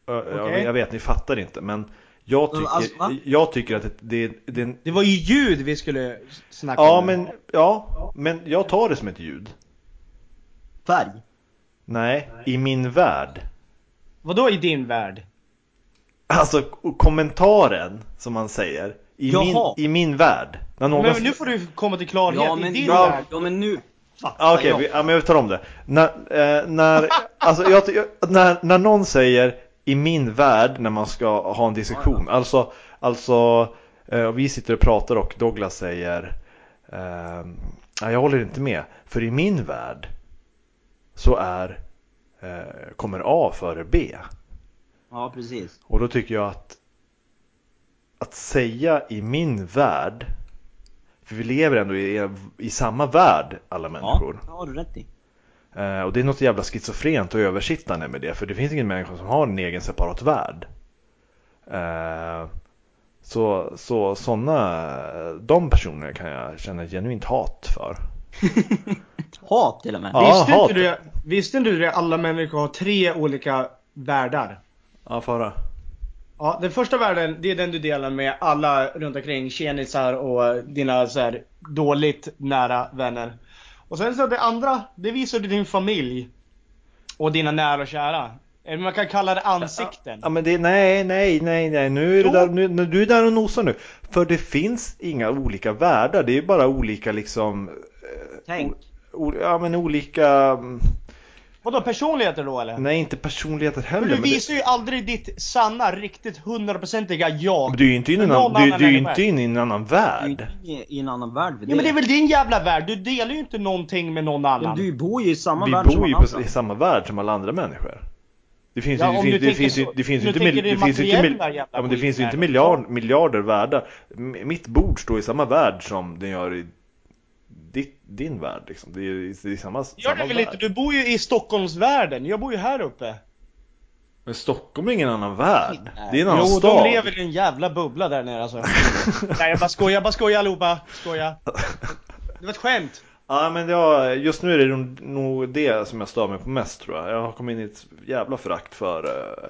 Speaker 1: Ö, Jag,
Speaker 2: Okej.
Speaker 1: jag vet, ni fattar inte men jag tycker,
Speaker 3: alltså, va?
Speaker 1: jag tycker att det, det, det är en
Speaker 2: Det var ju ljud vi skulle snacka
Speaker 1: Ja
Speaker 2: om.
Speaker 1: men, ja, men jag tar det som ett ljud.
Speaker 3: Färg?
Speaker 1: Nej, i min värld.
Speaker 2: Vadå i din värld?
Speaker 1: Alltså k- kommentaren som man säger i, min,
Speaker 3: Jaha.
Speaker 1: i min värld. När någon...
Speaker 2: Men nu får du komma till klarhet.
Speaker 3: Ja
Speaker 2: I
Speaker 3: men,
Speaker 2: din
Speaker 3: ja,
Speaker 2: värld.
Speaker 3: ja men nu fattar
Speaker 1: Ja, Ah, okej,
Speaker 3: jag.
Speaker 1: vi- ja, men jag tar om det. När, eh, när, alltså, jag, ty- jag- när, när någon säger i min värld när man ska ha en diskussion. Alltså, alltså eh, vi sitter och pratar och Douglas säger eh, "Nej, jag håller inte med. För i min värld så är eh, kommer A före B.
Speaker 3: Ja precis.
Speaker 1: Och då tycker jag att att säga i min värld, för vi lever ändå i, i samma värld alla
Speaker 3: Ja,
Speaker 1: människor.
Speaker 3: det har du rätt i.
Speaker 1: Eh, och det är något jävla schizofrent och översittande med det, för det finns ingen människa som har en egen separat värld. Eh, så så sådana, de personer kan jag känna genuint hat för.
Speaker 3: Hat till och med.
Speaker 1: Ja.
Speaker 2: Visste
Speaker 1: hat.
Speaker 2: inte, du, visste inte du det? Alla människor har tre olika världar.
Speaker 1: Ja, fara.
Speaker 2: Ja, den första världen, det är den du delar med alla runt omkring. Tjenisar och eh, dina så här, dåligt nära vänner. Och sen så det andra, det visar du din familj. Och dina nära och kära. Eller man kan kalla det ansikten.
Speaker 1: Ja men det, nej, nej, nej, nej, nu är det
Speaker 2: Jo.
Speaker 1: där, nu, nu, du är där och nosar nu. För det finns inga olika världar, det är ju bara olika liksom,
Speaker 3: Tänk.
Speaker 1: o, ja men olika, mm,
Speaker 2: Vadå personligheter då eller?
Speaker 1: nej inte personligheter heller.
Speaker 2: Men du
Speaker 1: men det-
Speaker 2: visar ju aldrig ditt sanna, riktigt hundraprocentiga jag.
Speaker 1: Men du är ju inte i en
Speaker 2: Men
Speaker 1: annan,
Speaker 2: någon
Speaker 1: du,
Speaker 2: annan
Speaker 1: du är ju
Speaker 2: människa.
Speaker 1: inte in i en annan
Speaker 3: Du är
Speaker 1: värld.
Speaker 3: ju i- i en annan värld vid
Speaker 2: Ja men det är väl din jävla värld, du delar ju inte någonting med någon
Speaker 3: Men
Speaker 2: annan.
Speaker 3: du bor ju i samma
Speaker 1: Vi
Speaker 3: värld alltså.
Speaker 1: bor ju
Speaker 3: alla
Speaker 1: på, i
Speaker 3: andra.
Speaker 1: samma värld som alla andra människor. Det finns
Speaker 2: Ja,
Speaker 1: ju- det
Speaker 2: om
Speaker 1: finns-
Speaker 2: du
Speaker 1: det
Speaker 2: tänker
Speaker 1: finns ju-
Speaker 2: så.
Speaker 1: det finns ju
Speaker 2: Nu
Speaker 1: inte
Speaker 2: tänker
Speaker 1: mil-
Speaker 2: du
Speaker 1: det finns ju inte mil-
Speaker 2: materiella jävla
Speaker 1: ja, men det
Speaker 2: skit
Speaker 1: finns ju
Speaker 2: här.
Speaker 1: inte miljard, miljarder värda. M- Mitt bord står i samma värld som den gör i ditt, din värld liksom. Det är ju det är samma,
Speaker 2: Gör
Speaker 1: samma
Speaker 2: det väl
Speaker 1: värld.
Speaker 2: inte? Du bor ju i Stockholmsvärlden. Jag bor ju här uppe.
Speaker 1: Men Stockholm är ingen annan värld. Det är en annan
Speaker 2: jo,
Speaker 1: stad.
Speaker 2: de lever i en jävla bubbla där nere alltså. Nej jag bara skojar, bara skojar allihopa. Skoja. Det var ett skämt.
Speaker 1: Ja men jag, just nu är det nog- nog det som jag stör mig på mest tror jag. Jag har kommit in i ett jävla förakt för, eh,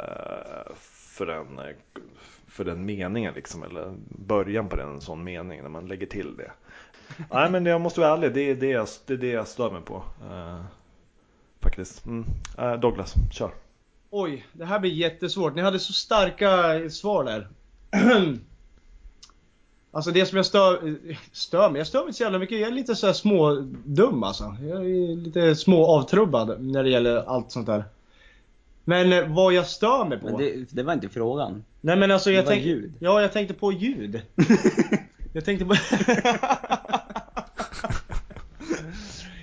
Speaker 1: eh, för, den, eh, för den meningen liksom. Eller början på den en sån mening när man lägger till det. Nej men jag måste vara ärlig, det är det jag, det är det jag stör mig på. eh, faktiskt. Mm. Eh, Douglas, kör.
Speaker 2: Oj, det här blir jättesvårt. Ni hade så starka svar där. alltså det som jag stör, stör mig, jag stör mig inte så jävla mycket. Jag är lite så här smådum alltså. Jag är lite små avtrubbad när det gäller allt sånt där. Men eh, vad jag stör mig på?
Speaker 3: Men det, det var inte frågan.
Speaker 2: Nej men alltså
Speaker 3: Det
Speaker 2: jag
Speaker 3: var
Speaker 2: tänkte...
Speaker 3: ljud.
Speaker 2: Ja, jag tänkte på ljud. jag tänkte på...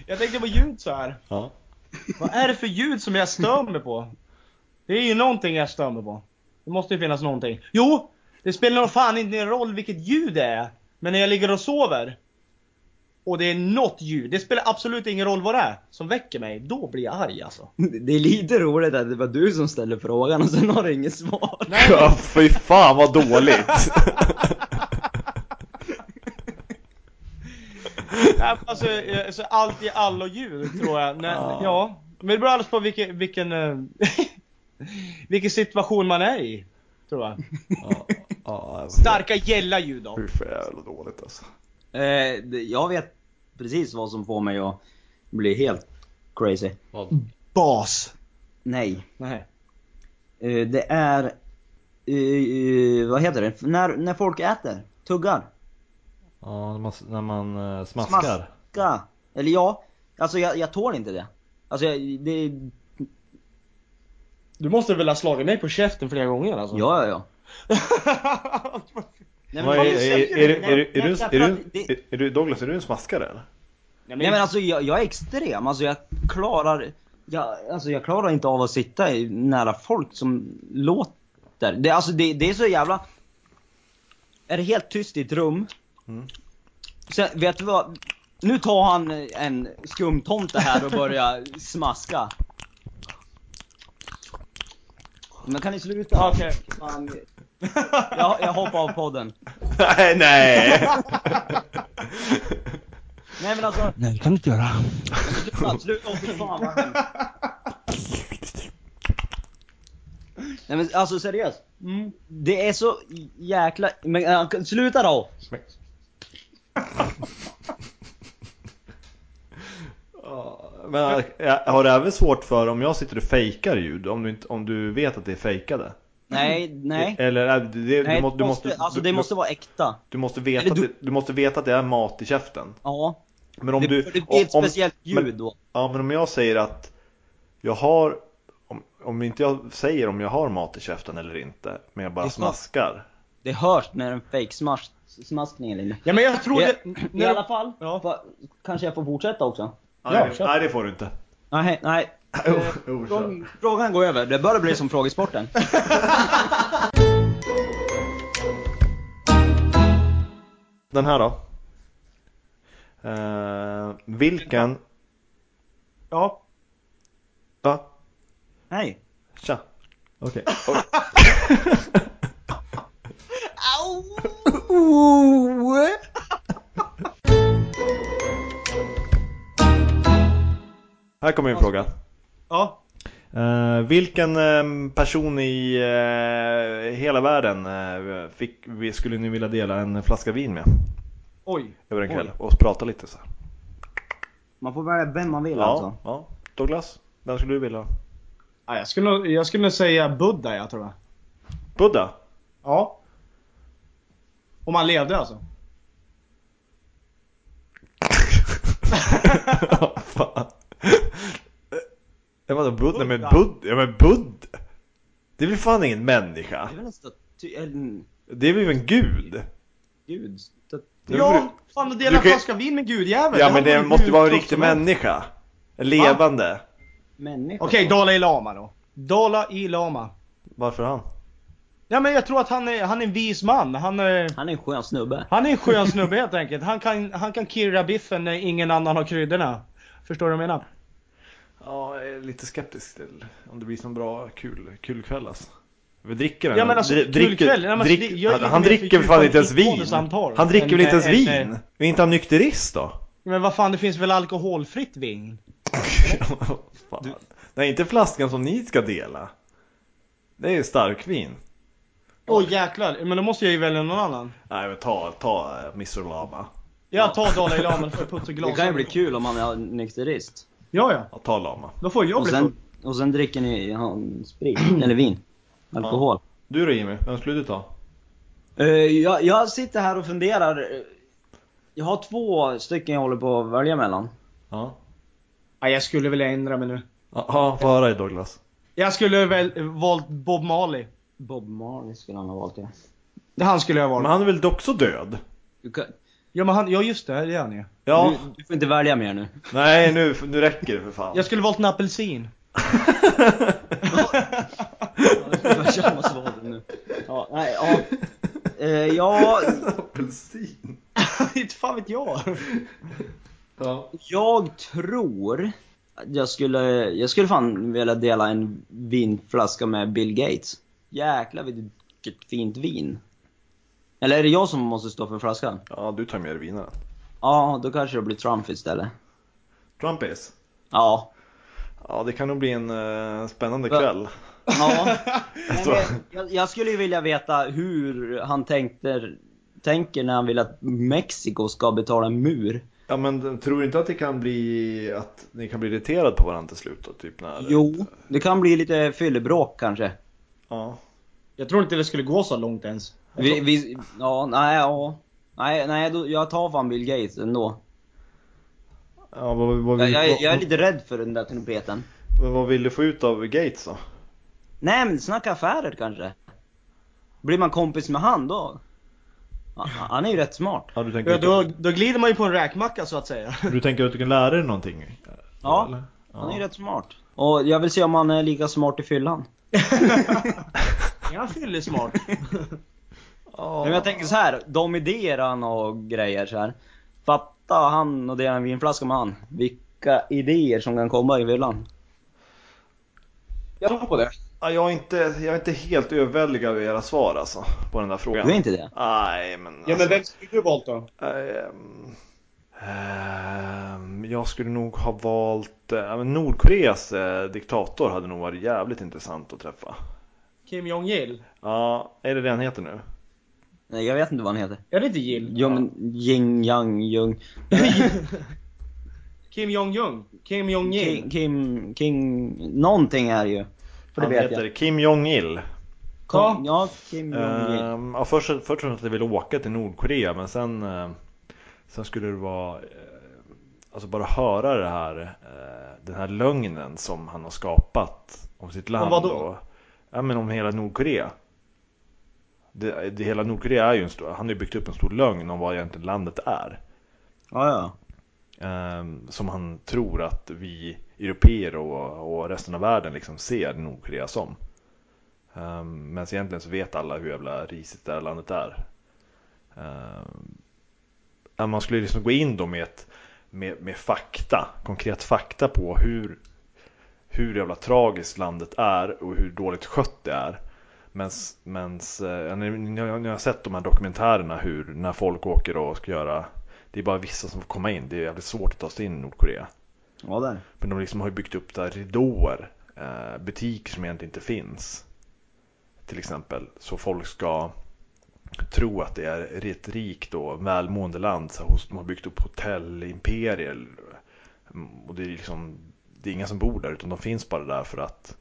Speaker 2: jag tänkte på ljud så här.
Speaker 1: Ja.
Speaker 2: Vad är det för ljud som jag stör mig på? Det är ju någonting jag stör mig på. Det måste ju finnas någonting. Jo! Det spelar nog fan inte någon roll vilket ljud det är. Men när jag ligger och sover och det är något ljud, det spelar absolut ingen roll vad det är, som väcker mig. Då blir jag arg alltså.
Speaker 3: Det är lite roligt att det var du som ställde frågan och sen har du inget svar.
Speaker 1: Ja, fy fan vad dåligt!
Speaker 2: Ja, alltså, eh, alltså allt i allo ljud tror jag. Nej,
Speaker 3: Ja.
Speaker 2: Ja. Men det beror alldeles på vilken, vilken, eh, vilken situation man är i. Tror jag.
Speaker 1: ja, ja,
Speaker 2: Starka gälla ljud då.
Speaker 1: Hur för jävla dåligt alltså.
Speaker 3: Eh, det- jag vet precis vad som får mig att bli helt crazy.
Speaker 2: Bas.
Speaker 3: Nej.
Speaker 2: Nej.
Speaker 3: Eh, det är... eh, eh, vad heter det? F- När, när folk äter. Tuggar.
Speaker 1: Ja, när man, när man eh, smaskar.
Speaker 3: Smaska. Eller ja. Alltså jag, jag tål inte det. Alltså jag, det...
Speaker 2: Du måste väl ha slagit mig på käften flera gånger alltså?
Speaker 3: Ja, ja, ja. Nej,
Speaker 1: Vad är-
Speaker 3: man-
Speaker 1: är- är- är- är- är du- är du-
Speaker 3: Det-
Speaker 1: är- är du- Douglas, är du en smaskare eller?
Speaker 3: Nej men alltså jag, jag är extrem, alltså jag klarar... Jag, alltså jag klarar inte av att sitta i- nära folk som låter. Det, alltså det, det är så jävla... Är det helt tyst i ett rum?
Speaker 1: Mm.
Speaker 3: Sen, vet du vad? Nu tar han en skumtomte här och börjar smaska. Men kan ni sluta?
Speaker 2: Okej.
Speaker 3: Fan. Jag, jag hoppar av podden.
Speaker 1: Nej, nej!
Speaker 3: Nej men alltså,
Speaker 5: Nej, det kan du inte göra.
Speaker 3: sluta, sluta, åh fy fan vad hemskt. Nej men alltså seriöst.
Speaker 2: Mm.
Speaker 3: Det är så jäkla... Men äh, sluta då!
Speaker 1: Men jag har du även svårt för om jag sitter och fejkar ljud? Om du, inte, om du vet att det är fejkade?
Speaker 3: Nej, nej.
Speaker 1: Eller är det, det, Mm. du,
Speaker 3: nej det
Speaker 1: må, du, måste,
Speaker 3: alltså
Speaker 1: du,
Speaker 3: det måste vara äkta.
Speaker 1: du, måste veta
Speaker 3: eller
Speaker 1: att
Speaker 3: du-
Speaker 1: det, du måste veta att det är mat i käften.
Speaker 3: Ja.
Speaker 1: Men om
Speaker 3: det,
Speaker 1: du...
Speaker 3: det blir ett
Speaker 1: om,
Speaker 3: speciellt ljud
Speaker 1: men-
Speaker 3: då.
Speaker 1: Ja, men om jag säger att jag har... Om, om inte jag säger om jag har mat i käften eller inte, men jag bara
Speaker 3: Det är så.
Speaker 1: smaskar.
Speaker 3: Det hörs när en fake smask, smaskning eller inte.
Speaker 2: Ja men jag trodde...
Speaker 3: I alla fall,
Speaker 2: Ja.
Speaker 3: va- kanske jag får fortsätta också?
Speaker 1: Nej,
Speaker 2: kör.
Speaker 1: nej, det får du inte.
Speaker 3: Nej, nej.
Speaker 1: Oh, oh, kör.
Speaker 3: Frågan- Frågan går över, det börjar bli som frågesporten.
Speaker 1: Den här då? Eh, vilken...
Speaker 2: Ja.
Speaker 1: Va?
Speaker 3: Nej.
Speaker 1: Tja. Okej. Här kommer en fråga.
Speaker 2: Ja.
Speaker 1: Eh, vilken eh, person i eh, hela världen eh, fick, vi skulle ni vilja dela en flaska vin med?
Speaker 2: Oj.
Speaker 1: Över en kväll och prata lite så här.
Speaker 3: Man får välja vem man vill alltså.
Speaker 1: Ja, ja. Douglas, vem skulle du vilja ha?
Speaker 2: Ja, jag, skulle, nog- jag skulle nog säga Buddha jag tror jag.
Speaker 1: Buddha?
Speaker 2: Ja. Om han levde alltså.
Speaker 1: Ja, fan. Jag menar Buddha, Nej, men
Speaker 2: Buddha.
Speaker 1: Buddha, ja men Buddha. Det är väl fan ingen människa?
Speaker 3: Det är väl en staty... En
Speaker 1: Det är väl en gud?
Speaker 3: gud? Staty...
Speaker 1: Det
Speaker 2: Ja,
Speaker 1: vore-
Speaker 2: fan att dela
Speaker 1: kan-
Speaker 2: flaska vin med gudjäveln.
Speaker 1: Ja
Speaker 2: hade
Speaker 1: men det
Speaker 2: ju
Speaker 1: måste
Speaker 2: hur
Speaker 1: vara en
Speaker 2: tufft
Speaker 1: riktig
Speaker 2: som helst.
Speaker 1: människa. En levande.
Speaker 3: Människa?
Speaker 2: Okej, Dalai Lama då. Dalai Lama.
Speaker 1: Varför han?
Speaker 2: Ja men jag tror att han är, han är en vis man. Han är,
Speaker 3: Han är en skön snubbe.
Speaker 2: han är en skön snubbe helt enkelt. Han kan, han kan kirra biffen när ingen annan har kryddorna. Förstår du vad jag menar?
Speaker 1: Ja, jag är lite skeptisk till om det blir sån bra kul, kul kväll alltså. Vi dricker den.
Speaker 2: Ja, men alltså,
Speaker 1: Dri-
Speaker 2: kul
Speaker 1: dricker-
Speaker 2: kväll. Nej, men
Speaker 1: drick-
Speaker 2: det- jag är
Speaker 1: han,
Speaker 2: lite
Speaker 1: han
Speaker 2: mer
Speaker 1: dricker för
Speaker 2: förtjust
Speaker 1: fan
Speaker 2: i
Speaker 1: inte ens vin.
Speaker 2: telefonsamtal.
Speaker 1: Han dricker väl inte ens
Speaker 2: En, eh,
Speaker 1: vin?
Speaker 2: en, eh,
Speaker 1: Är inte han nykterist då?
Speaker 2: Men vad fan, det finns väl alkoholfritt vin?
Speaker 1: Fan. Nej, inte flaskan som ni ska dela. Det är ju starkvin.
Speaker 2: Åh jäklar, men då måste jag ju välja någon annan.
Speaker 1: Nej, men ta, ta eh, Mr Lama.
Speaker 2: Jag tar Dalai Lama för puts och glas.
Speaker 3: Det kan ju bli kul om han är nykterist.
Speaker 2: Ja, ja.
Speaker 1: Ja, ta Lama.
Speaker 2: Då får jag
Speaker 3: Och
Speaker 2: bli full.
Speaker 3: sen, och sen dricker ni ja, sprit, eller vin. Alkohol.
Speaker 1: Du då Jimmy, vem skulle du ta?
Speaker 3: Eh, jag, jag sitter här och funderar. eh, Jag har två stycken jag håller på att välja mellan.
Speaker 1: Ja,
Speaker 2: Ja, jag skulle vilja ändra mig nu.
Speaker 1: ja, ja få höra dig Douglas.
Speaker 2: Jag skulle väl valt Bob Marley.
Speaker 3: Bob Marley skulle han ha valt ja.
Speaker 2: Det han skulle jag
Speaker 1: Men
Speaker 2: valt.
Speaker 1: han är väl också död?
Speaker 3: Du, kan,
Speaker 2: Ja men han, ja just det, det är han ju.
Speaker 1: Ja,
Speaker 3: du, du får inte välja mer nu.
Speaker 1: nej nu, nu räcker det för fan.
Speaker 2: Jag skulle valt en apelsin.
Speaker 3: Du får bara köra massa val nu. Ja, nej, ja. Eh, jag,
Speaker 1: Apelsin.
Speaker 2: Inte fan vet jag.
Speaker 1: Ja.
Speaker 3: jag tror att jag skulle, jag skulle fan vilja dela en vinflaska med Bill Gates. Jäklar vilket fint vin. Eller är det jag som måste stå för flaskan?
Speaker 1: ja, du tar med dig vinaren.
Speaker 3: Ja, då kanske det blir Trump istället.
Speaker 1: Trumpis.
Speaker 3: Ja,
Speaker 1: Ja, det kan nog bli en eh, spännande
Speaker 3: Va?
Speaker 1: kväll.
Speaker 3: Ja. Nej, men jag, jag skulle ju vilja veta hur han tänkte, tänker när han vill att Mexiko ska betala en mur.
Speaker 1: Ja, men tror du inte att det kan bli att ni kan bli irriterad på varandra till slut då, typ när...
Speaker 3: Jo, det kan bli lite fyllebråk kanske.
Speaker 1: Ja.
Speaker 2: Jag tror inte det skulle gå så långt ens.
Speaker 3: Vi, vi, ja, nej, ja. Nej, nej då, jag tar fan Bill Gates ändå.
Speaker 1: Ja, vad, vad,
Speaker 3: Jag,
Speaker 1: vill,
Speaker 3: jag, jag är
Speaker 1: vad,
Speaker 3: lite rädd för den där trumpeten.
Speaker 1: vad, vad vill du få ut av Gates då?
Speaker 3: Nej men snacka affärer kanske. Blir man kompis med han då? Han, han är ju rätt smart.
Speaker 1: Ja, du, tänker
Speaker 2: Ja,
Speaker 1: att du,
Speaker 2: då, då glider man ju på en räkmacka så att säga.
Speaker 1: du tänker att du kan lära dig någonting?
Speaker 3: Ja.
Speaker 1: eller?
Speaker 3: Han är ju rätt smart. Och jag vill se om han är lika smart i fyllan.
Speaker 2: Är han fyllesmart?
Speaker 1: Ja.
Speaker 3: Nej, men jag tänker så här, de idéer han har och grejer så här. Fatta han och dela en vinflaska med han. Vilka idéer som kan komma i villan. Jag tror på det.
Speaker 1: Ja, jag, är inte, jag är inte helt överväldigad över era svar alltså, på den där frågan.
Speaker 3: Du är inte det?
Speaker 1: Nej, men... alltså,
Speaker 2: Ja men vem skulle du valt då?
Speaker 1: Ehm, ehm, jag skulle nog ha valt... eh, ja, men Nordkoreas eh, diktator hade nog varit jävligt intressant att träffa.
Speaker 2: Kim Jong-Il?
Speaker 1: Ja, är det det han heter nu?
Speaker 3: Nej jag vet inte vad han heter.
Speaker 2: Är det inte Gil?
Speaker 3: Jo men, Jing Yang Jung.
Speaker 2: Kim Jong-Jung? Kim Jong-Il?
Speaker 3: Kim, Kim, Kim, någonting är ju. För det
Speaker 1: han
Speaker 3: vet
Speaker 1: heter
Speaker 3: jag.
Speaker 1: Kim Jong-Il.
Speaker 3: Kom, ja, Kim Jong Il.
Speaker 1: Ehm, ja, först först trodde jag att jag ville åka till Nordkorea men sen, eh, sen skulle det vara eh, Alltså bara höra det här, eh, den här lögnen som han har skapat om sitt land.
Speaker 2: vadå?
Speaker 1: och- ja, men om hela Nordkorea. Det, det, hela Nordkorea är ju en stor, han har ju byggt upp en stor lögn om vad egentligen landet är.
Speaker 3: Ja, ja.
Speaker 1: Ehm, som han tror att vi europeer och, och resten av världen liksom ser Nordkorea som. Um, men egentligen så vet alla hur jävla risigt det här landet är. Ehm, ja, man skulle liksom gå in då med, ett, med, med fakta, konkret fakta på hur, hur jävla tragiskt landet är och hur dåligt skött det är. Mens, mens, eh, ja, ni, ni, har- ni har sett de här dokumentärerna hur när folk åker och ska göra det är bara vissa som får komma in. Det är jävligt svårt att ta sig in i Nordkorea.
Speaker 3: Ja där.
Speaker 1: Men de liksom har ju byggt upp där ridåer, eh, butiker som egentligen inte finns. Till exempel. Så folk ska tro att det är ett rikt och välmående land. Så hos- de har byggt upp hotellimperier. Mm, Och det är liksom, det är inga som bor där utan de finns bara där för att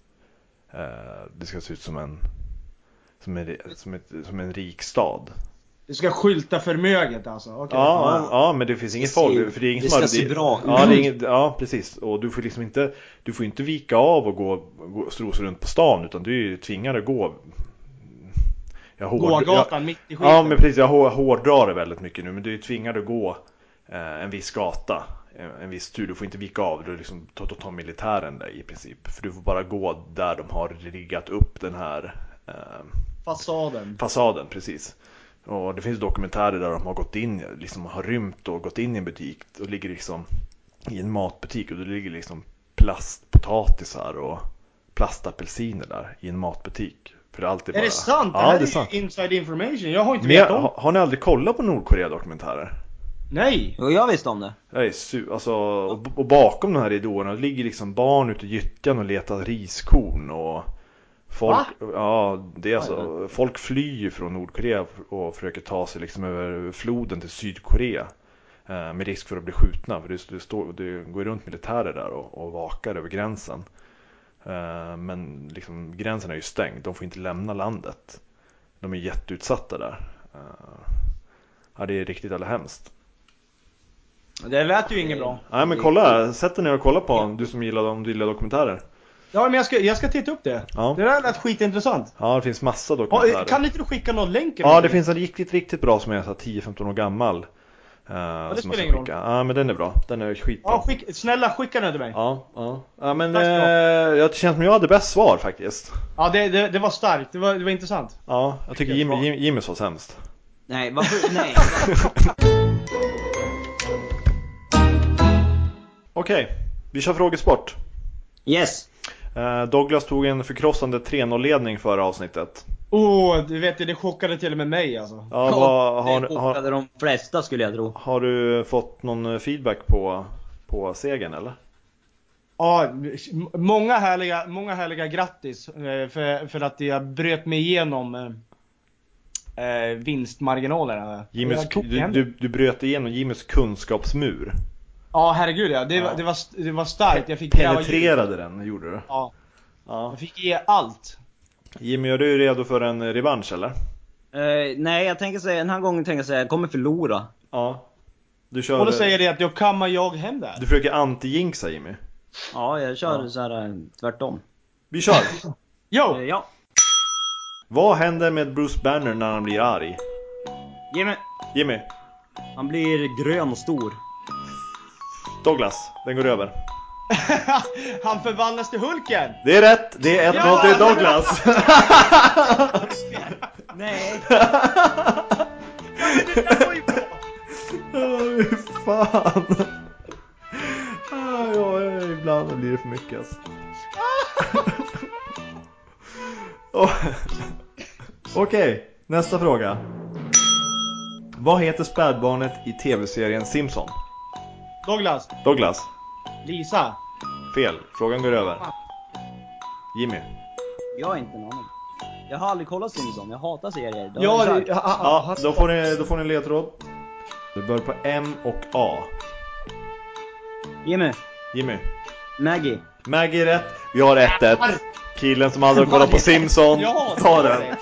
Speaker 1: eh, det ska se ut som en, som en, som ett, som en rik stad.
Speaker 2: Du ska skylta förmöget alltså? Okej.
Speaker 1: Ja, ja, ja, men det finns inget
Speaker 3: Det ser-
Speaker 1: folk. För det är ingen
Speaker 3: det
Speaker 1: som
Speaker 3: ska
Speaker 1: har-
Speaker 3: se bra
Speaker 1: ja,
Speaker 3: ut.
Speaker 1: det är inget, ja, precis. Och du får liksom inte, du får inte vika av och gå, gå strosa runt på stan utan du är ju tvingad att gå. Jag hård-
Speaker 2: Gågatan mitt i
Speaker 1: jag, Ja,
Speaker 2: skiten.
Speaker 1: men precis. Jag hår- hårdrar det väldigt mycket nu, men du är tvingad att gå eh, en viss gata en, en viss tur. Du får inte vika av, då liksom tar ta, ta militären dig i princip. För du får bara gå där de har riggat upp den här eh,
Speaker 2: Fasaden.
Speaker 1: fasaden. precis. Och det finns dokumentärer där de har gått in, liksom har rymt och gått in i en butik och ligger liksom i en matbutik och det ligger liksom plastpotatisar och plastapelsiner där i en matbutik. För det är alltid bara...
Speaker 2: Är det sant? det
Speaker 1: Ja,
Speaker 2: här
Speaker 1: det är
Speaker 2: ju
Speaker 1: sant.
Speaker 2: inside information. Jag har inte
Speaker 1: Men jag,
Speaker 2: vetat om
Speaker 1: har, har ni aldrig kollat på Nordkorea-dokumentärer?
Speaker 2: Nej!
Speaker 3: Och jag visste om det.
Speaker 1: Jag är su- alltså, och, och bakom de här ridåerna ligger liksom barn ute i gyttjan och letar riskorn och folk, ja, det är alltså, folk flyr från Nordkorea och försöker ta sig liksom över floden till Sydkorea eh, med risk för att bli skjutna för det, det, står, det går ju runt militärer där och, och vakar över gränsen. Eh, men liksom, gränsen är ju stängd, de får inte lämna landet. De är jätteutsatta där. Eh, ja, det är riktigt alla hemskt.
Speaker 2: Det lät ju inget bra.
Speaker 1: Nej men kolla, sätt dig ner och kolla på honom, du som gillar, om du gillar dokumentärer.
Speaker 2: Ja men jag ska, jag ska titta upp det.
Speaker 1: Ja.
Speaker 2: Det där lät skitintressant.
Speaker 1: Ja, det finns massa
Speaker 2: Ja, eh,
Speaker 1: dokumentärer.
Speaker 2: Kan inte du skicka någon länk? eller
Speaker 1: Ja, det
Speaker 2: någonting?
Speaker 1: finns en riktigt, riktigt bra som är så här 10-15 år gammal. Uh, ja,
Speaker 2: spelar ingen roll.
Speaker 1: Ja, men den är bra. Den är skitbra.
Speaker 2: Ja, skick, snälla skicka den till mig.
Speaker 1: Ja, ja. ja men
Speaker 2: Tack
Speaker 1: eh,
Speaker 2: ska du
Speaker 1: jag känns som jag hade bäst svar faktiskt.
Speaker 2: Ja, det, det, det var starkt. Det var, det var intressant.
Speaker 1: Ja, jag tycker
Speaker 2: Helt
Speaker 1: Jimmy,
Speaker 2: bra.
Speaker 1: Jimmy, Jimmy var sämst.
Speaker 3: Nej, varför? Nej.
Speaker 1: Okej, vi kör frågesport.
Speaker 3: Yes.
Speaker 1: Eh, Douglas tog en förkrossande 3-0-ledning förra avsnittet.
Speaker 2: Åh, oh, du vet det, det chockade till och med mig alltså.
Speaker 1: Ja, vad, har,
Speaker 3: det
Speaker 1: har,
Speaker 3: chockade de flesta skulle jag tro.
Speaker 1: har du fått någon feedback på, på segern eller?
Speaker 2: Ja, m- många härliga, många härliga grattis eh, för, för att jag bröt mig igenom eh, eh, vinstmarginalerna.
Speaker 1: Jimmys,
Speaker 2: Jag tog
Speaker 1: du,
Speaker 2: hem
Speaker 1: du,
Speaker 2: det.
Speaker 1: du bröt igenom Jimmys kunskapsmur.
Speaker 2: Ja, herregud ja. Det,
Speaker 1: Ja.
Speaker 2: Var, det, var, st- det var starkt. Jag fick gräva djupt.
Speaker 1: Penetrerade den, gjorde du.
Speaker 2: Ja,
Speaker 1: Ja.
Speaker 2: jag fick ge allt.
Speaker 1: Jimmy, är du redo för en revansch eller?
Speaker 3: Eh, nej, jag tänker säga, den här gången tänker jag säga, jag kommer förlora.
Speaker 1: Ja. Du
Speaker 2: Och
Speaker 1: kör...
Speaker 2: då säger det att jag kammar jag hem där.
Speaker 1: Du försöker anti-jinxa Jimmy.
Speaker 3: Ja, jag kör
Speaker 1: Ja.
Speaker 3: så här eh, tvärtom.
Speaker 1: Vi kör!
Speaker 3: Eh,
Speaker 2: Jo!
Speaker 3: ja.
Speaker 1: Vad händer med Bruce Banner när han blir arg?
Speaker 3: Jimmy.
Speaker 1: Jimmy,
Speaker 3: Han blir grön och stor.
Speaker 1: Douglas, den går över.
Speaker 2: Han förvandlas till Hulken!
Speaker 1: Det är rätt! Det är 1-0
Speaker 2: Ja!
Speaker 1: till Douglas!
Speaker 3: Nej.
Speaker 1: Hur fan? Ah, ja, ja, ibland blir det för mycket alltså. Åh. Okej, nästa fråga. Vad heter spädbarnet i tv-serien Simpson?
Speaker 2: Douglas,
Speaker 1: Douglas?
Speaker 2: Lisa.
Speaker 1: Fel. Frågan går över. Jimmy?
Speaker 3: Jag har inte en aning. Jag har aldrig kollat Simpson, jag hatar serier. Det har
Speaker 2: Ja,
Speaker 3: jag
Speaker 2: det-
Speaker 3: sagt.
Speaker 2: ja, ja, ja.
Speaker 1: Ja, då får ni, då får ni en ledtråd. Det börjar på M och A.
Speaker 3: Jimmy.
Speaker 1: Jimmy?
Speaker 3: Maggie.
Speaker 1: Maggie är rätt. Vi har 1-1. Killen som aldrig kollar på Simpson
Speaker 2: Ja, det
Speaker 1: tar
Speaker 2: var
Speaker 1: den.
Speaker 2: det.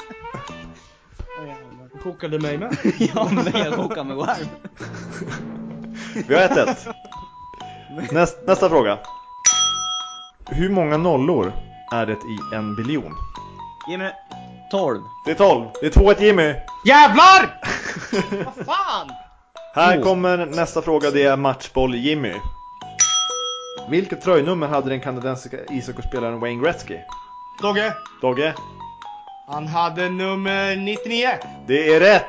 Speaker 2: Åh, jävlar. Du Chockade mig med.
Speaker 3: ja, men jag kokar mig varm.
Speaker 1: Vi har 1-1. Näst, nästa fråga. Hur många nollor är det i en biljon?
Speaker 3: Jimmy. 12.
Speaker 1: Det är 12. Det är 2-1 Jimmy.
Speaker 2: Jävlar! Vad fan!
Speaker 1: Här
Speaker 3: Oh.
Speaker 1: kommer nästa fråga. Det är matchboll Jimmy. Vilket tröjnummer hade den kanadensiska ishockeyspelaren Wayne Gretzky?
Speaker 2: Dogge,
Speaker 1: Dogge?
Speaker 2: han hade nummer 99.
Speaker 1: Det är rätt!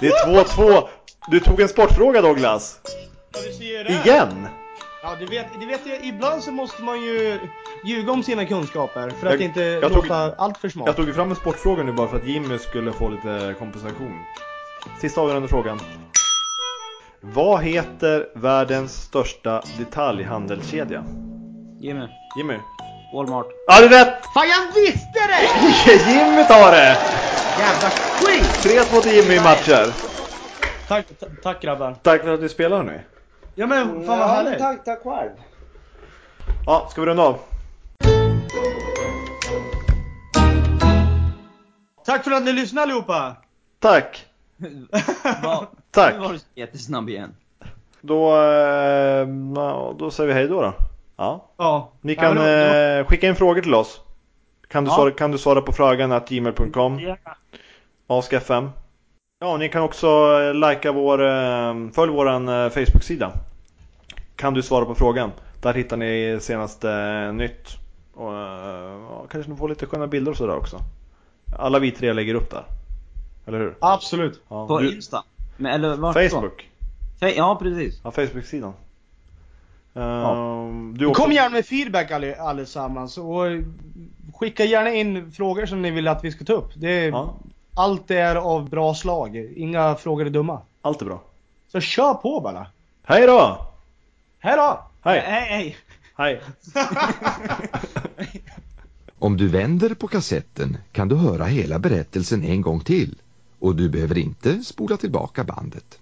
Speaker 1: Det är 2-2. Du tog en sportfråga Douglas.
Speaker 2: Ja, du ser ju det.
Speaker 1: Igen!
Speaker 2: Ja, du vet, du vet ju, ibland så måste man ju ljuga om sina kunskaper för att
Speaker 1: Jag-
Speaker 2: inte
Speaker 1: jag tog-
Speaker 2: låta allt för smart.
Speaker 1: Jag tog ju fram en sportfråga nu bara för att Jimmy skulle få lite kompensation. Sista avgörande frågan. Vad heter världens största detaljhandelskedja?
Speaker 3: Jimmy.
Speaker 1: Jimmy?
Speaker 3: Walmart.
Speaker 1: Ja, det är rätt!
Speaker 2: Fan, jag visste det!
Speaker 1: Jimmy tar det!
Speaker 2: Jävla skit!
Speaker 1: 3-2 till Jimmy i matcher.
Speaker 2: Tack, ta- tack grabbar.
Speaker 1: Tack för att du spelar nu.
Speaker 2: Ja men fan vad härligt.
Speaker 3: tack, tack själv.
Speaker 1: Ja, ska vi runda av?
Speaker 2: Tack för att ni lyssnade allihopa.
Speaker 1: Tack!
Speaker 3: Va,
Speaker 1: Tack.
Speaker 3: Nu var du så jättesnabb igen.
Speaker 1: Då, eh, ja, då säger vi hej då. då. Ja.
Speaker 2: Ja.
Speaker 1: Ni
Speaker 2: Ja,
Speaker 1: kan
Speaker 2: men det var-
Speaker 1: eh, skicka in frågor till oss. Kan du,
Speaker 3: Ja.
Speaker 1: svara, kan du svara på frågan att gmail.com? Ask.fm. Ja, ni kan också eh, likea vår, eh, följ vår Facebook-sida. eh, Kan du svara på frågan? Där hittar ni senaste eh, nytt. Och eh, ja, kanske ni får lite sköna bilder och sådär också. Alla vi tre lägger upp där. Eller hur?
Speaker 2: Absolut.
Speaker 1: Ja,
Speaker 3: På
Speaker 1: du-
Speaker 3: Insta? Men, eller vart då?
Speaker 1: Facebook.
Speaker 3: Fe- ja, precis.
Speaker 1: Ja, Facebook-sidan. Ehm, du också-
Speaker 2: Kom gärna med feedback alle- allesammans och skicka gärna in frågor som ni vill att vi ska ta upp. Det är,
Speaker 1: Ja,
Speaker 2: Allt är av bra slag. Inga frågor är dumma.
Speaker 1: allt är bra.
Speaker 2: Så kör på bara.
Speaker 1: Hej då!
Speaker 2: Hej då!
Speaker 1: Hej!
Speaker 3: Hej, hej!
Speaker 1: Hej!
Speaker 4: Om du vänder på kassetten kan du höra hela berättelsen en gång till och du behöver inte spola tillbaka bandet.